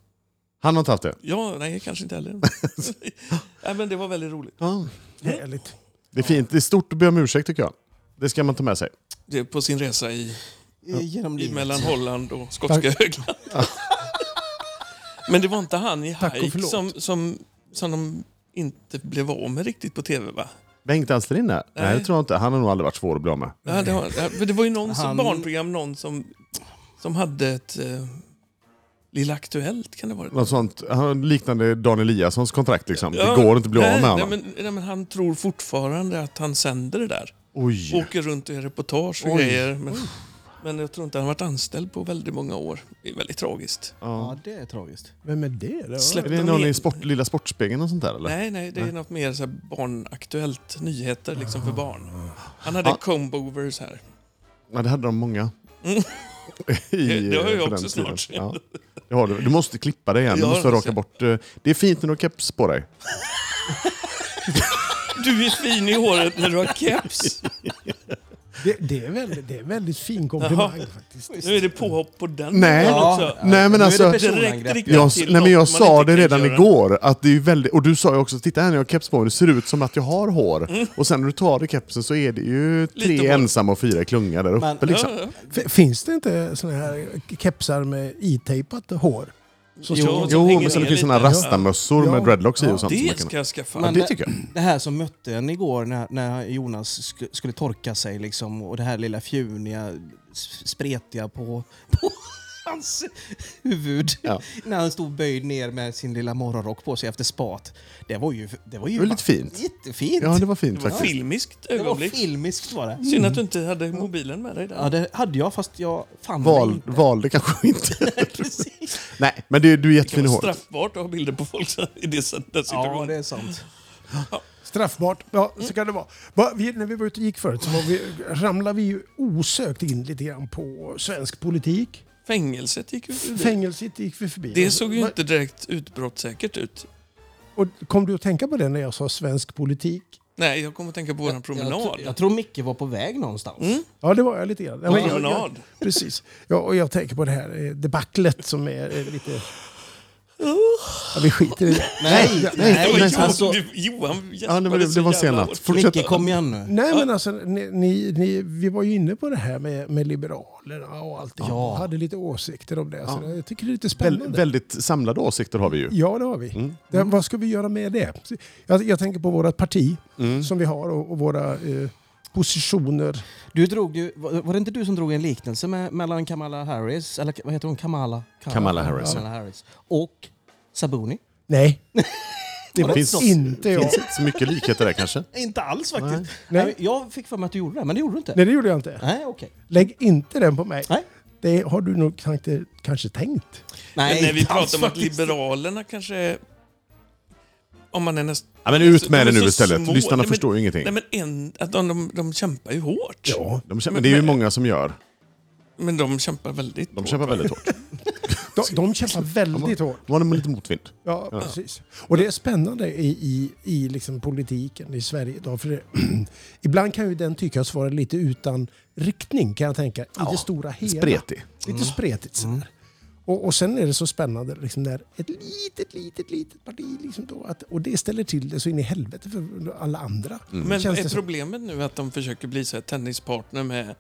Speaker 1: Han har inte haft det?
Speaker 2: Ja, nej, kanske inte heller. nej, men det var väldigt roligt.
Speaker 1: Ja.
Speaker 4: Härligt.
Speaker 1: Det är fint. Det är stort att be om ursäkt tycker jag. Det ska man ta med sig.
Speaker 2: Det är på sin resa i,
Speaker 3: Eh, Genom
Speaker 2: i
Speaker 3: livet.
Speaker 2: mellan Holland och skotska höglandet. men det var inte han i
Speaker 4: Tack och
Speaker 2: Haik
Speaker 4: förlåt.
Speaker 2: som, som, som de inte blev av med riktigt på tv, va?
Speaker 1: Bengt Alsterlind där? Nej. det tror jag inte. Han har nog aldrig varit svår att bli av med.
Speaker 2: Ja, det, har, för det var ju någon som,
Speaker 3: Han-
Speaker 2: barnprogram, någon som, som hade ett eh, Lilla Aktuellt, kan det vara?
Speaker 1: Något sånt. Han liknande Dan Eliassons kontrakt liksom. det går inte att bli
Speaker 2: nej,
Speaker 1: av med
Speaker 2: nej,
Speaker 1: honom.
Speaker 2: men, nej, men Han tror fortfarande att han sänder det där.
Speaker 1: Oj.
Speaker 2: Åker runt och gör reportage och grejer. Men, men jag tror inte han varit anställd på väldigt många år. Det är väldigt tragiskt.
Speaker 3: Ja, det är tragiskt.
Speaker 4: Vem är det? då?
Speaker 2: Släpp
Speaker 1: Är det
Speaker 2: dem
Speaker 1: någon
Speaker 2: in.
Speaker 1: i sport, Lilla Sportspegeln och sånt där eller?
Speaker 2: Nej, nej, det är något mer så här barnaktuellt, nyheter liksom för barn. Han hade combovers här.
Speaker 1: Ja, det hade de många. I,
Speaker 2: Det- det har jag
Speaker 1: på den
Speaker 2: också
Speaker 1: tiden.
Speaker 2: snart.
Speaker 1: Ja. Det har du. du måste klippa det igen. Du
Speaker 2: Ja,
Speaker 1: måste
Speaker 2: det måste
Speaker 1: raka bort. eh, Det är fint när du har keps på dig.
Speaker 2: Du är fin i håret när du har keps.
Speaker 4: Det, det, är väldigt, det är en väldigt fin komplimang faktiskt.
Speaker 2: Nu är det påhopp på den
Speaker 1: Nej.
Speaker 2: delen
Speaker 1: Ja.
Speaker 2: också.
Speaker 1: Nej, men
Speaker 3: nu är
Speaker 1: alltså-
Speaker 3: det personangrepp
Speaker 2: Direkt
Speaker 3: ju.
Speaker 2: riktat
Speaker 1: Jag,
Speaker 2: till
Speaker 1: nej, men
Speaker 2: något
Speaker 1: jag
Speaker 2: man
Speaker 1: sa
Speaker 2: inte
Speaker 1: det
Speaker 2: kan
Speaker 1: redan
Speaker 2: göra.
Speaker 1: igår, att det är ju väldigt, och du sa ju också titta här när jag har keps på mig, det ser ut som att jag har hår.
Speaker 2: Mm.
Speaker 1: Och sen när du tar av dig kepsen så är det ju tre
Speaker 2: hår.
Speaker 1: ensamma och fyra i klunga där uppe.
Speaker 3: Men-
Speaker 1: liksom.
Speaker 2: Ja, ja.
Speaker 4: F- Finns det inte såna här kepsar med itejpat hår? Så
Speaker 2: Jo,
Speaker 4: står-
Speaker 2: som
Speaker 1: Jo,
Speaker 2: hänger
Speaker 1: men sen
Speaker 2: ner
Speaker 1: det finns
Speaker 2: lite.
Speaker 1: såna rastamössor
Speaker 4: Ja.
Speaker 1: med dreadlocks i
Speaker 4: Ja.
Speaker 1: och sånt. som man
Speaker 2: Det
Speaker 1: kan-
Speaker 2: ska jag skaffa.
Speaker 1: Ja,
Speaker 3: Men-
Speaker 1: det tycker jag.
Speaker 3: Det här som mötte en igår när, när Jonas sk skulle torka sig liksom och det här lilla fjuniga, s- spretiga på, på hans huvud.
Speaker 1: Ja.
Speaker 3: När han stod böjd ner med sin lilla morgonrock på sig efter spat. Det var ju, det var ju
Speaker 1: Det var lite fint.
Speaker 3: jättefint.
Speaker 1: Ja, det var fint
Speaker 2: Det var
Speaker 1: faktiskt.
Speaker 2: filmiskt
Speaker 3: Det var
Speaker 2: ögonblick.
Speaker 3: filmiskt var det.
Speaker 2: Synd att du inte hade mobilen med dig där.
Speaker 3: Ja, det hade jag fast jag fann det
Speaker 1: Val,
Speaker 3: inte.
Speaker 1: valde kanske inte.
Speaker 3: Precis.
Speaker 1: nej, men du, du är
Speaker 2: Det kan
Speaker 1: jättefin i
Speaker 2: vara
Speaker 1: håret.
Speaker 2: straffbart att ha bilder på folk så- i det, sätt- den
Speaker 3: Ja,
Speaker 2: situationen.
Speaker 3: det är sant.
Speaker 4: Straffbart. Ja, så kan det vara. Va, vi, när vi var ute och gick förut så var vi, ramlade vi ju osökt in lite grann på svensk politik.
Speaker 2: Fängelset gick ut ur det.
Speaker 4: Fängelset gick vi förbi.
Speaker 2: Det såg ju
Speaker 4: Va-
Speaker 2: inte direkt utbrottssäkert ut.
Speaker 4: Och kom du att tänka på det när jag sa svensk politik?
Speaker 2: Nej, jag kommer att tänka på våran promenad.
Speaker 3: Jag, tro, jag tror Micke var på väg någonstans.
Speaker 1: Mm.
Speaker 4: Ja, det var jag lite grann. Ja, men jag, jag,
Speaker 2: Promenad.
Speaker 4: precis. Ja, och jag tänker på det här eh, debaclet som är eh, lite... Ja, vi skiter i det.
Speaker 3: Nej, nej,
Speaker 2: Det var
Speaker 3: men
Speaker 2: Johan,
Speaker 3: alltså,
Speaker 2: det- Johan
Speaker 1: Ja, det, var- det, var senat. Fortsätt.
Speaker 3: Micke kom igen nu.
Speaker 4: Nej, men alltså, ni, ni, ni, vi var ju inne på det här med, med liberalerna och allt.
Speaker 3: Ja.
Speaker 4: hade lite åsikter om det. Så
Speaker 1: Ja.
Speaker 4: Jag tycker det är lite spännande.
Speaker 1: Väl, Mm. väldigt samlade åsikter har vi ju.
Speaker 4: Ja, det har vi. Det, vad ska vi göra med det? Jag, jag tänker på vårt parti
Speaker 1: Mm.
Speaker 4: som vi har och, och våra eh, positioner.
Speaker 3: Du drog ju, var var det inte du som drog en liknelse med, mellan Kamala Harris, eller vad heter hon? Kamala?
Speaker 1: Kamala Harris,
Speaker 3: Kamala Harris. Och Sabuni?
Speaker 4: Nej, det var
Speaker 1: finns-
Speaker 4: inte
Speaker 1: Det
Speaker 4: jag.
Speaker 1: finns inte så mycket likheter där kanske.
Speaker 3: Inte alls faktiskt.
Speaker 4: Nej.
Speaker 3: Nej. Jag fick för mig att du gjorde det, men det gjorde du inte.
Speaker 4: Nej, det gjorde jag inte.
Speaker 3: Nej, okej.
Speaker 4: Lägg inte den på mig.
Speaker 3: Nej.
Speaker 4: Det har du nog kanske, kanske tänkt.
Speaker 2: Men när vi
Speaker 3: inte alls
Speaker 2: pratar om att
Speaker 3: alltså, faktiskt.
Speaker 2: Liberalerna kanske... är- Om man är näst...
Speaker 1: Ja, men ut med
Speaker 2: de
Speaker 1: det
Speaker 2: är
Speaker 1: nu
Speaker 2: så
Speaker 1: istället.
Speaker 2: små.
Speaker 1: Lyssnarna
Speaker 2: Nej, men-
Speaker 1: förstår ju ingenting.
Speaker 2: Nej, men en, att de, de, de kämpar ju hårt.
Speaker 1: Ja, de kämpar, men det är ju många som gör.
Speaker 2: Men de kämpar väldigt
Speaker 1: De
Speaker 2: hårt.
Speaker 1: kämpar väldigt hårt.
Speaker 4: De, de kämpar väldigt hårt.
Speaker 1: De har lite motvind.
Speaker 4: Ja, precis. Och det är spännande i, i, i liksom politiken i Sverige idag. För det, ibland kan ju den tyckas vara lite utan riktning kan jag tänka. I det stora hela.
Speaker 1: Spretig.
Speaker 4: Lite spretigt sådär. Och, och sen är det så spännande liksom när ett litet, litet, litet parti liksom då, att, och det ställer till det så in i helvete för alla andra.
Speaker 2: Men
Speaker 4: Känns
Speaker 2: är
Speaker 4: det som.
Speaker 2: problemet nu att de försöker bli så här tennispartner med,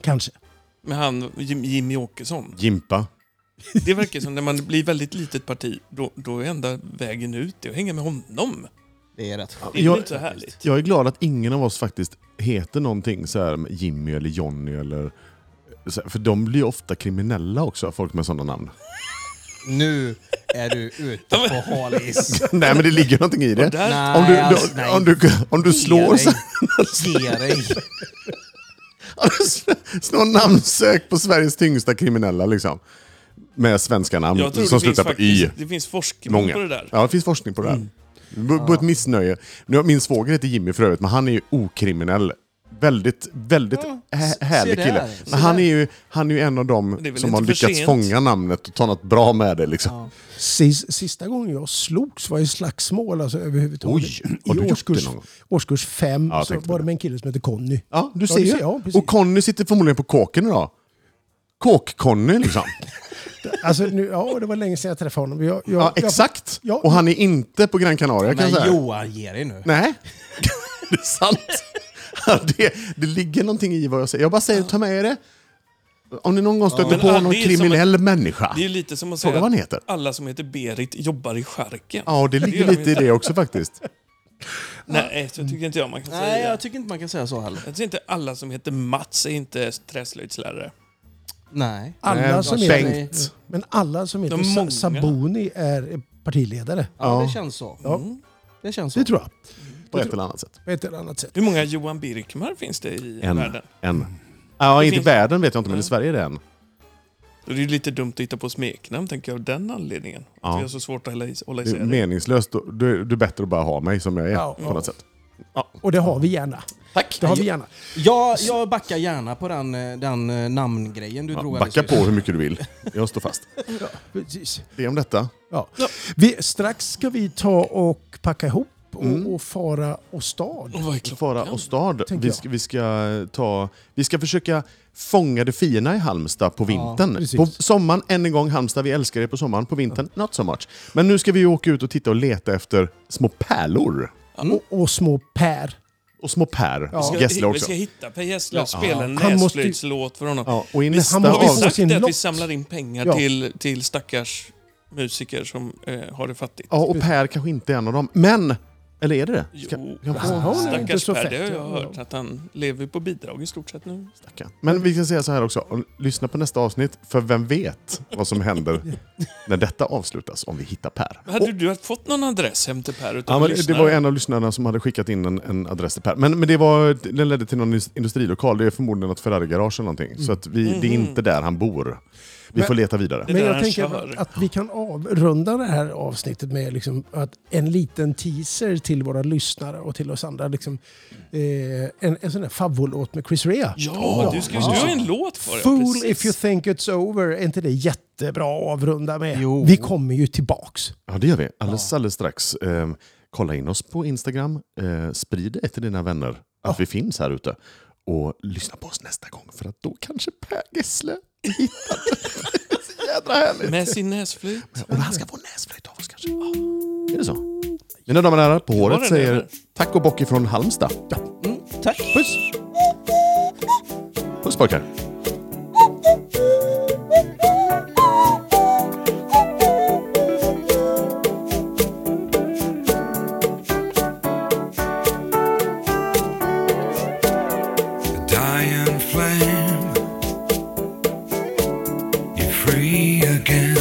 Speaker 4: Kanske.
Speaker 2: med han Jim, Jimmy Åkesson?
Speaker 1: Gimpa.
Speaker 2: Det verkar som när man blir väldigt litet parti, då, då är enda vägen ut det att hänga med honom.
Speaker 3: Det är rätt skönt.
Speaker 2: Det är
Speaker 1: Jag-
Speaker 2: väl inte så härligt?
Speaker 1: Jag är glad att ingen av oss faktiskt heter någonting så här med Jimmy eller Johnny eller... så här, För de blir ju ofta kriminella också, folk med sådana namn.
Speaker 3: Nu är du ute på hal is.
Speaker 1: Nej men det ligger någonting i det.
Speaker 2: Där,
Speaker 1: Om du,
Speaker 3: Nej, alltså,
Speaker 1: du,
Speaker 3: nej.
Speaker 1: om du, om du slår
Speaker 3: Ge
Speaker 1: så,
Speaker 3: dig. Ge dig.
Speaker 1: om du sl- slår namnsök på Sveriges tyngsta kriminella liksom. Med svenska namn
Speaker 2: jag tror
Speaker 1: som
Speaker 2: det, finns
Speaker 1: slutar på Y.
Speaker 2: faktiskt, det finns forskning
Speaker 1: Många.
Speaker 2: på det där.
Speaker 1: Ja, det finns forskning på det här.
Speaker 3: Mm.
Speaker 1: B- På ett missnöje. Nu, min svåger heter Jimmy för övrigt, men han är ju okriminell. Väldigt, väldigt hä- härlig
Speaker 3: där,
Speaker 1: kille.
Speaker 3: se
Speaker 1: Men han är, ju, han är ju en av dem
Speaker 2: det är väl
Speaker 1: som
Speaker 2: inte
Speaker 1: har
Speaker 2: för
Speaker 1: lyckats
Speaker 2: sent.
Speaker 1: fånga namnet och ta något bra med det. Liksom.
Speaker 4: Sis, sista gången jag slogs var i slagsmål alltså, överhuvudtaget.
Speaker 1: Oj, har du gjort
Speaker 4: I
Speaker 1: det
Speaker 4: årskurs,
Speaker 1: någon gång?
Speaker 4: årskurs fem
Speaker 1: Ja, jag
Speaker 4: så
Speaker 1: tänkte
Speaker 4: var
Speaker 1: det.
Speaker 4: det med en kille som hette Conny.
Speaker 1: Ja, du
Speaker 4: Ja,
Speaker 1: ser
Speaker 4: du
Speaker 1: ju.
Speaker 4: ser, ja, precis.
Speaker 1: och Conny sitter förmodligen på kåken idag. Kåk-Conny liksom.
Speaker 4: Alltså, nu, ja, det var länge sedan jag träffade honom. Jag, jag,
Speaker 1: Ja, exakt.
Speaker 4: Ja,
Speaker 1: och han är inte på Gran Canaria kan jag
Speaker 3: Men
Speaker 1: säga.
Speaker 3: Johan, ge dig nu.
Speaker 1: Nej, det är sant. Ja, Det, det ligger någonting i vad jag säger. Jag bara säger, ta med er det. Om ni någon gång stöter
Speaker 2: Men,
Speaker 1: på
Speaker 2: ja,
Speaker 1: någon
Speaker 2: det är som
Speaker 1: kriminell människa.
Speaker 2: Det är ju lite som att
Speaker 1: Fråga
Speaker 2: säga
Speaker 1: vad han
Speaker 2: att
Speaker 1: heter.
Speaker 2: alla som heter Berit jobbar i skärken.
Speaker 1: Ja, det
Speaker 2: gör
Speaker 1: ligger
Speaker 2: de
Speaker 1: lite i
Speaker 2: inte.
Speaker 1: det också faktiskt.
Speaker 2: Nej, så tycker inte jag man kan
Speaker 3: Nej,
Speaker 2: säga.
Speaker 3: jag tycker inte man kan säga så heller.
Speaker 2: Jag tycker inte alla som heter Mats är inte träslöjdslärare.
Speaker 3: Nej.
Speaker 4: alla
Speaker 1: Nej,
Speaker 4: som
Speaker 1: Bengt.
Speaker 4: heter, men alla som
Speaker 2: De
Speaker 4: heter Sa-
Speaker 2: många.
Speaker 4: Saboni är partiledare.
Speaker 3: Ja, det känns så. Mm. Det känns så.
Speaker 4: Det tror jag.
Speaker 1: På ett eller annat sätt.
Speaker 4: På ett eller annat sätt.
Speaker 2: Hur många Johan Birkmar finns det i
Speaker 1: En.
Speaker 2: världen?
Speaker 1: en. Ja, inte i
Speaker 2: finns-
Speaker 1: världen vet jag inte, men i Sverige är det en.
Speaker 2: Det är ju lite dumt att hitta på smeknamn, tänker jag, av den anledningen.
Speaker 1: Ja.
Speaker 2: Att vi har så svårt att hålla i- hålla
Speaker 1: Det är
Speaker 2: isär det.
Speaker 1: meningslöst. Du, du är bättre att bara ha mig som jag är
Speaker 4: Ja.
Speaker 1: på något sätt.
Speaker 4: Och det har vi gärna. Tack. Det har vi gärna.
Speaker 3: Jag, jag backar gärna på den, eh, den eh, namngrejen du drog alldeles
Speaker 1: Backa
Speaker 3: nyss.
Speaker 1: på hur mycket du vill. Jag står fast.
Speaker 4: Precis.
Speaker 1: Det är om detta.
Speaker 4: Ja. Vi, strax ska vi ta och packa ihop upp och,
Speaker 1: Mm.
Speaker 4: och fara och stad.
Speaker 2: Och vad är klockan?
Speaker 1: Fara och stad.
Speaker 4: tänker
Speaker 1: Vi
Speaker 4: jag.
Speaker 1: ska, vi, ska ta, vi ska försöka fånga det fina i Halmstad på vintern.
Speaker 4: precis.
Speaker 1: på sommaren, än en gång Halmstad, vi älskar er på sommaren. På vintern, not so much. Men nu ska vi ju åka ut och titta och leta efter små pärlor.
Speaker 4: Och, och små Per.
Speaker 1: Och små Per.
Speaker 4: Ja.
Speaker 2: Vi ska-
Speaker 1: Gässle
Speaker 2: Vi
Speaker 1: också.
Speaker 2: ska hitta Per Gessle och spela en
Speaker 4: Han måste ju-
Speaker 2: näsflöjtslåt för honom.
Speaker 1: Ja, och i
Speaker 2: Vi-
Speaker 1: nästa
Speaker 4: han måste
Speaker 2: Har
Speaker 4: få
Speaker 2: vi
Speaker 1: avsnitt...
Speaker 2: sagt
Speaker 4: sin
Speaker 2: det att vi
Speaker 4: lott.
Speaker 2: samlar in pengar
Speaker 4: Ja.
Speaker 2: till, till stackars musiker som eh, har det fattigt?
Speaker 1: Ja, och Per kanske inte är en av dem. Men, eller är det det? Ska,
Speaker 2: Jo,
Speaker 1: kan få-
Speaker 4: han är inte
Speaker 2: stackars
Speaker 4: så
Speaker 2: Per,
Speaker 4: fett,
Speaker 2: det har jag
Speaker 4: ja.
Speaker 2: hört. Att han lever på bidrag i stort sett nu.
Speaker 1: Stackarn. Men vi kan säga så här också, och lyssna på nästa avsnitt, för vem vet vad som händer när detta avslutas om vi hittar Per.
Speaker 2: Hade du fått någon adress hem till Per utav
Speaker 1: Ja, men det
Speaker 2: lyssnare?
Speaker 1: var en av lyssnarna som hade skickat in en, en adress till Per. Men, men det var, den ledde till någon indus- industrilokal, det är förmodligen något Ferrari-garage eller någonting. Så att vi, det är inte där han bor. Vi
Speaker 4: Mm. Mm-hmm. Men-
Speaker 1: får leta vidare.
Speaker 2: där
Speaker 4: Men jag
Speaker 2: han
Speaker 4: tänker
Speaker 2: kör.
Speaker 4: att vi kan avrunda det här avsnittet med liksom att en liten teaser till våra lyssnare och till oss andra. Liksom, eh, en, en sån där favoritlåt med Chris Rea.
Speaker 2: Ja, du, ska, du har ju en låt för det.
Speaker 4: Fool
Speaker 2: precis.
Speaker 4: if you think it's over. Är inte det jättebra att avrunda med? Vi kommer ju tillbaks.
Speaker 1: Ja, det gör vi. Alldeles, alldeles strax. Ehm, kolla in oss på Instagram. Eh, sprid det till dina vänner att vi finns här ute. Och lyssna på oss nästa gång, för att då kanske Per Gessle hittar det. Så jädra härligt.
Speaker 2: Med sin näsflöjt.
Speaker 1: Och han ska få näsflöjt av oss kanske. Ja. Är det så? Mina damer och herrar, på håret
Speaker 2: den
Speaker 1: säger
Speaker 2: över.
Speaker 1: tack och bock ifrån Halmstad. Mm,
Speaker 3: Tack.
Speaker 1: Puss! Puss pojkar!
Speaker 10: A dying flame. You're free again.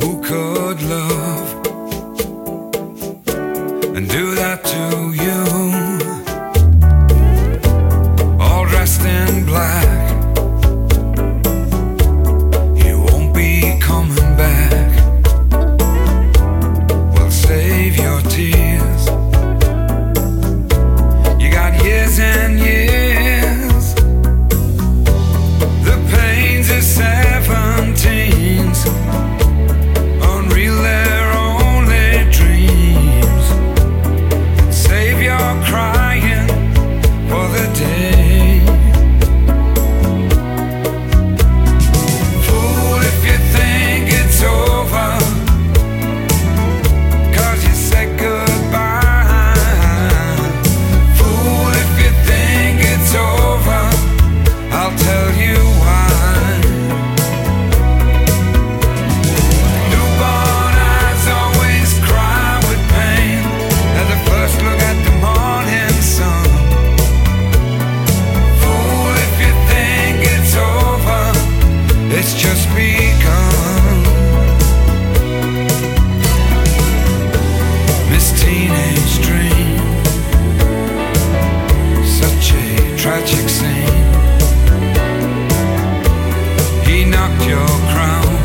Speaker 10: Who could love and do that to you? All dressed in black. You won't be coming back. Well, save your tears. You got years and years. The pains of seventeens. Unreal, they're only dreams. Save your crying for the day. Fool, if you think it's over. 'Cause you said goodbye. Fool, if you think it's over, I'll tell you why. Newborn eyes always cry with pain at the first look at the morning sun. Fool, if you think it's over, it's just begun. Miss Teenage Dream such a tragic scene. He knocked your crown